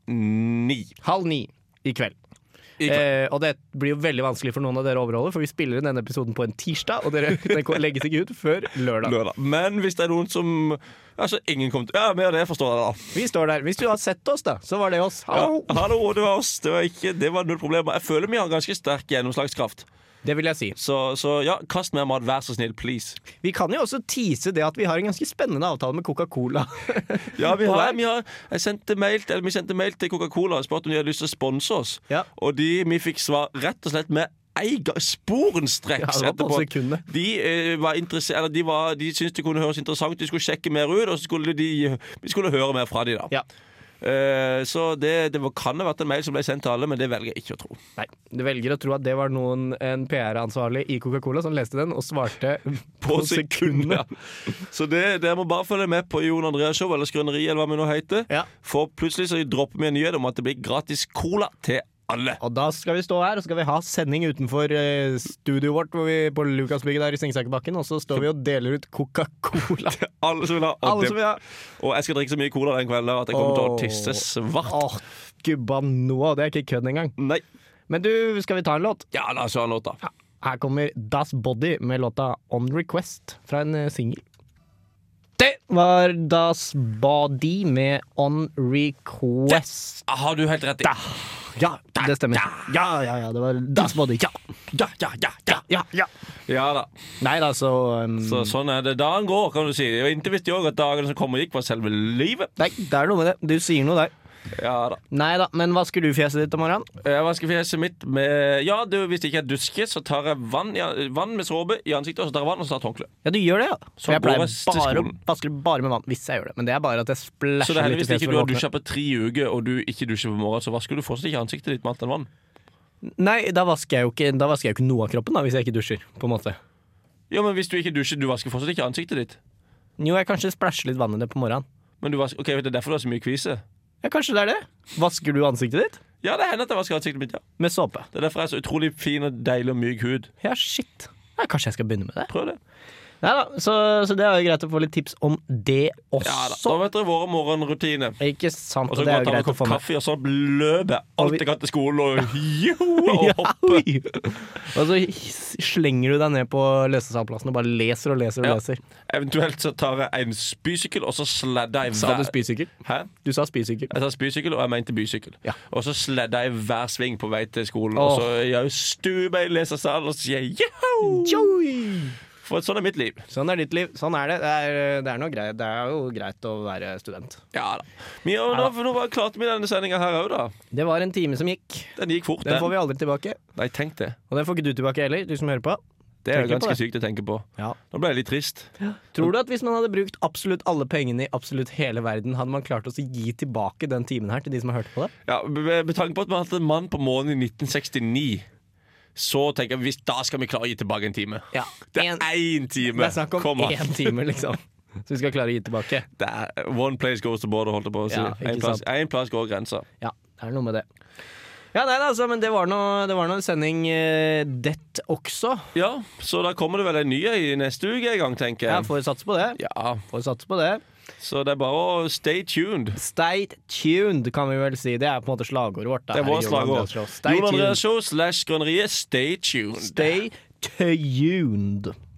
[SPEAKER 2] ni.
[SPEAKER 1] Halv ni i kveld.
[SPEAKER 2] I kveld.
[SPEAKER 1] Eh, og det blir jo veldig vanskelig for noen av dere å overholde, for vi spiller inn denne episoden på en tirsdag, og dere *laughs* den ko- legges ikke ut før lørdag.
[SPEAKER 2] lørdag. Men hvis det er noen som Altså, ingen kom til Ja, mer av det forstår jeg, da.
[SPEAKER 1] Vi står der. Hvis du har sett oss, da, så var det oss.
[SPEAKER 2] Ja.
[SPEAKER 1] Hallo!
[SPEAKER 2] Hallo, det var oss. Det var, ikke, det var null problemer. Jeg føler vi har ganske sterk gjennomslagskraft.
[SPEAKER 1] Det vil jeg si.
[SPEAKER 2] Så, så ja, kast mer mat, vær så snill, please.
[SPEAKER 1] Vi kan jo også tease det at vi har en ganske spennende avtale med Coca-Cola. *laughs*
[SPEAKER 2] Ja, vi
[SPEAKER 1] På
[SPEAKER 2] har,
[SPEAKER 1] vei.
[SPEAKER 2] vi har jeg sendte mail, til- eller vi sendte mail til Coca-Cola og spurte om de hadde lyst til å sponse oss.
[SPEAKER 1] Ja.
[SPEAKER 2] Og de, vi fikk svar rett og slett med en gang-
[SPEAKER 1] Ja,
[SPEAKER 2] sporenstreks
[SPEAKER 1] det var på sekundet.
[SPEAKER 2] De, eh, var interesse- eller de, var, de syntes det kunne høres interessant De skulle sjekke mer ut, og så skulle de, vi skulle høre mer fra de da.
[SPEAKER 1] Ja.
[SPEAKER 2] Eh, så det, det var- kan ha vært en mail som ble sendt til alle, men det velger jeg ikke å tro.
[SPEAKER 1] Nei, du velger å tro at det var noen, en PR-ansvarlig i Coca-Cola som leste den og svarte på sekundet.
[SPEAKER 2] Så det, dere må bare følge med på Jon Andreas Show eller Skrøneri, eller hva vi nå heter.
[SPEAKER 1] Ja.
[SPEAKER 2] For plutselig så dropper vi en nyhet om at det blir gratis cola til alle.
[SPEAKER 1] Og da skal vi stå her og så skal vi ha sending utenfor eh, studioet vårt hvor vi, på Lukasbygget der i Sengsakerbakken, og så står vi og deler ut *laughs* Coca-Cola.
[SPEAKER 2] Alle som vil ha. Og,
[SPEAKER 1] Alle
[SPEAKER 2] det-
[SPEAKER 1] som vil ha.
[SPEAKER 2] og jeg skal drikke så mye cola den kvelden der at jeg kommer til
[SPEAKER 1] Åh.
[SPEAKER 2] å tisse svart.
[SPEAKER 1] Åh, gubba noa, det er ikke kødd engang.
[SPEAKER 2] Nei.
[SPEAKER 1] Men du, skal vi ta en låt?
[SPEAKER 2] Ja, la oss høre en låt, da.
[SPEAKER 1] Her kommer Das Body med låta On Request fra en eh, singel. Det var Das Body med On Request.
[SPEAKER 2] Ah, Har du helt rett i.
[SPEAKER 1] Ja, det stemmer. Ja, ja, ja, det var Das Body. Ja,
[SPEAKER 2] Ja, ja, ja, ja.
[SPEAKER 1] ja, ja.
[SPEAKER 2] ja da.
[SPEAKER 1] Nei da, så um,
[SPEAKER 2] Så sånn er det. Dagen går, kan du si. Og Inntil visste jeg òg at dagen som kom og gikk, var selve livet.
[SPEAKER 1] Nei, det er noe med det. Du sier noe der.
[SPEAKER 2] Ja da.
[SPEAKER 1] Nei da, men vasker du fjeset ditt om morgenen?
[SPEAKER 2] Jeg vasker fjeset Eh, mitt med Ja, du, hvis det ikke er duske, så tar jeg vann, i- vann med såpe i ansiktet, og så tar jeg vann og så tar jeg håndkle.
[SPEAKER 1] Ja, du gjør det, ja.
[SPEAKER 2] Så
[SPEAKER 1] For jeg
[SPEAKER 2] går
[SPEAKER 1] pleier
[SPEAKER 2] jeg til
[SPEAKER 1] bare å
[SPEAKER 2] skolen.
[SPEAKER 1] vaske det bare med vann. Hvis jeg gjør det. Men det er bare at jeg
[SPEAKER 2] Så det er
[SPEAKER 1] splæsjer litt i
[SPEAKER 2] heldigvis
[SPEAKER 1] fjeset.
[SPEAKER 2] ikke
[SPEAKER 1] for å
[SPEAKER 2] du har
[SPEAKER 1] våkne.
[SPEAKER 2] dusja på tre uker, og du ikke dusjer på morgenen, så vasker du fortsatt ikke ansiktet ditt med annet enn vann.
[SPEAKER 1] Nei, da vasker jeg jo ikke, da vasker jeg jo ikke noe av kroppen da, hvis jeg ikke dusjer. på en måte.
[SPEAKER 2] Ja, men hvis du ikke dusjer, du vasker fortsatt ikke ansiktet ditt.
[SPEAKER 1] Jo, jeg kanskje splæsjer litt vann i det på morgenen.
[SPEAKER 2] Men du vasker, ok, vet du, det er derfor du har så mye kvise.
[SPEAKER 1] Ja, Kanskje det er det. Vasker du ansiktet ditt?
[SPEAKER 2] Ja, det hender at jeg vasker ansiktet mitt, ja.
[SPEAKER 1] Med såpe.
[SPEAKER 2] Det er derfor jeg har så utrolig fin og deilig og myk hud.
[SPEAKER 1] Ja, shit. Ja, kanskje jeg skal begynne med det.
[SPEAKER 2] Prøv det.
[SPEAKER 1] Nei da, så, så det er jo greit å få litt tips om det
[SPEAKER 2] Ja, da.
[SPEAKER 1] også.
[SPEAKER 2] da vet dere våre morgenrutiner.
[SPEAKER 1] ikke sant, og
[SPEAKER 2] Og så
[SPEAKER 1] det er
[SPEAKER 2] går jeg
[SPEAKER 1] jo
[SPEAKER 2] og tar en
[SPEAKER 1] greit å
[SPEAKER 2] kopp
[SPEAKER 1] få med.
[SPEAKER 2] kaffe, og så løper jeg
[SPEAKER 1] vi-
[SPEAKER 2] alt jeg kan til skolen, og
[SPEAKER 1] *laughs*
[SPEAKER 2] joho, og
[SPEAKER 1] Ja,
[SPEAKER 2] hopper.
[SPEAKER 1] oi. og så his- slenger du deg ned på lesesalplassen og bare leser og leser og
[SPEAKER 2] Ja.
[SPEAKER 1] leser.
[SPEAKER 2] Eventuelt så tar jeg en spysykkel, og så sladder jeg
[SPEAKER 1] Sa du
[SPEAKER 2] hver
[SPEAKER 1] spysykkel?
[SPEAKER 2] Hæ?
[SPEAKER 1] Du sa spysykkel.
[SPEAKER 2] Jeg sa spysykkel, og jeg mente bysykkel.
[SPEAKER 1] Ja.
[SPEAKER 2] Og så sledder jeg hver sving på vei til skolen.
[SPEAKER 1] Åh.
[SPEAKER 2] Og så gjør jeg stuebein, leser salen, og så sier jeg joho!
[SPEAKER 1] Joi!
[SPEAKER 2] For sånn er mitt liv.
[SPEAKER 1] Sånn er ditt liv. Sånn er det. Det er, det er, noe greit. Det er jo greit å være student.
[SPEAKER 2] Ja da. Men ja, nå, for nå bare klarte vi denne sendinga her òg, da.
[SPEAKER 1] Det var en time som gikk.
[SPEAKER 2] Den gikk fort,
[SPEAKER 1] Den får vi aldri tilbake.
[SPEAKER 2] Nei, tenk det.
[SPEAKER 1] Og den får ikke du tilbake heller, du som hører på.
[SPEAKER 2] Det er
[SPEAKER 1] Tenker
[SPEAKER 2] jo
[SPEAKER 1] på det.
[SPEAKER 2] ganske sykt å tenke på. Nå ble jeg litt trist.
[SPEAKER 1] Tror du at hvis man hadde brukt absolutt alle pengene i absolutt hele verden, hadde man klart å gi tilbake den timen her til de som hørte på det?
[SPEAKER 2] Ja, med med tanke på at man hadde en mann på månen i 1969, så tenker jeg hvis da skal vi klare å gi tilbake en time.
[SPEAKER 1] Ja.
[SPEAKER 2] Det
[SPEAKER 1] En-
[SPEAKER 2] er én time!
[SPEAKER 1] det er snakk
[SPEAKER 2] Kom
[SPEAKER 1] om
[SPEAKER 2] an.
[SPEAKER 1] én time, *laughs* liksom. Så vi skal klare å gi tilbake.
[SPEAKER 2] Det er one place goes the border, holdt jeg på å si.
[SPEAKER 1] Ja, ikke
[SPEAKER 2] en, plass, en plass går grensa.
[SPEAKER 1] Ja, det er noe med det. Ja, nei, da, altså, men det var noe, det var noe sending eh, det også.
[SPEAKER 2] Ja, så da kommer det vel en ny i neste uke en gang, tenker
[SPEAKER 1] Jeg
[SPEAKER 2] jeg.
[SPEAKER 1] får satse på det.
[SPEAKER 2] Ja,
[SPEAKER 1] Får satse på det.
[SPEAKER 2] Så det er bare å stay tuned.
[SPEAKER 1] Stay tuned, kan vi vel si. Det er på en måte slagordet vårt. da,
[SPEAKER 2] Det er
[SPEAKER 1] her i
[SPEAKER 2] vårt
[SPEAKER 1] Jon
[SPEAKER 2] slagord.
[SPEAKER 1] Andreas Show. Stay
[SPEAKER 2] Jon
[SPEAKER 1] tuned.
[SPEAKER 2] Andreas Show slash Grønneriet, stay tuned.
[SPEAKER 1] Stay tuned.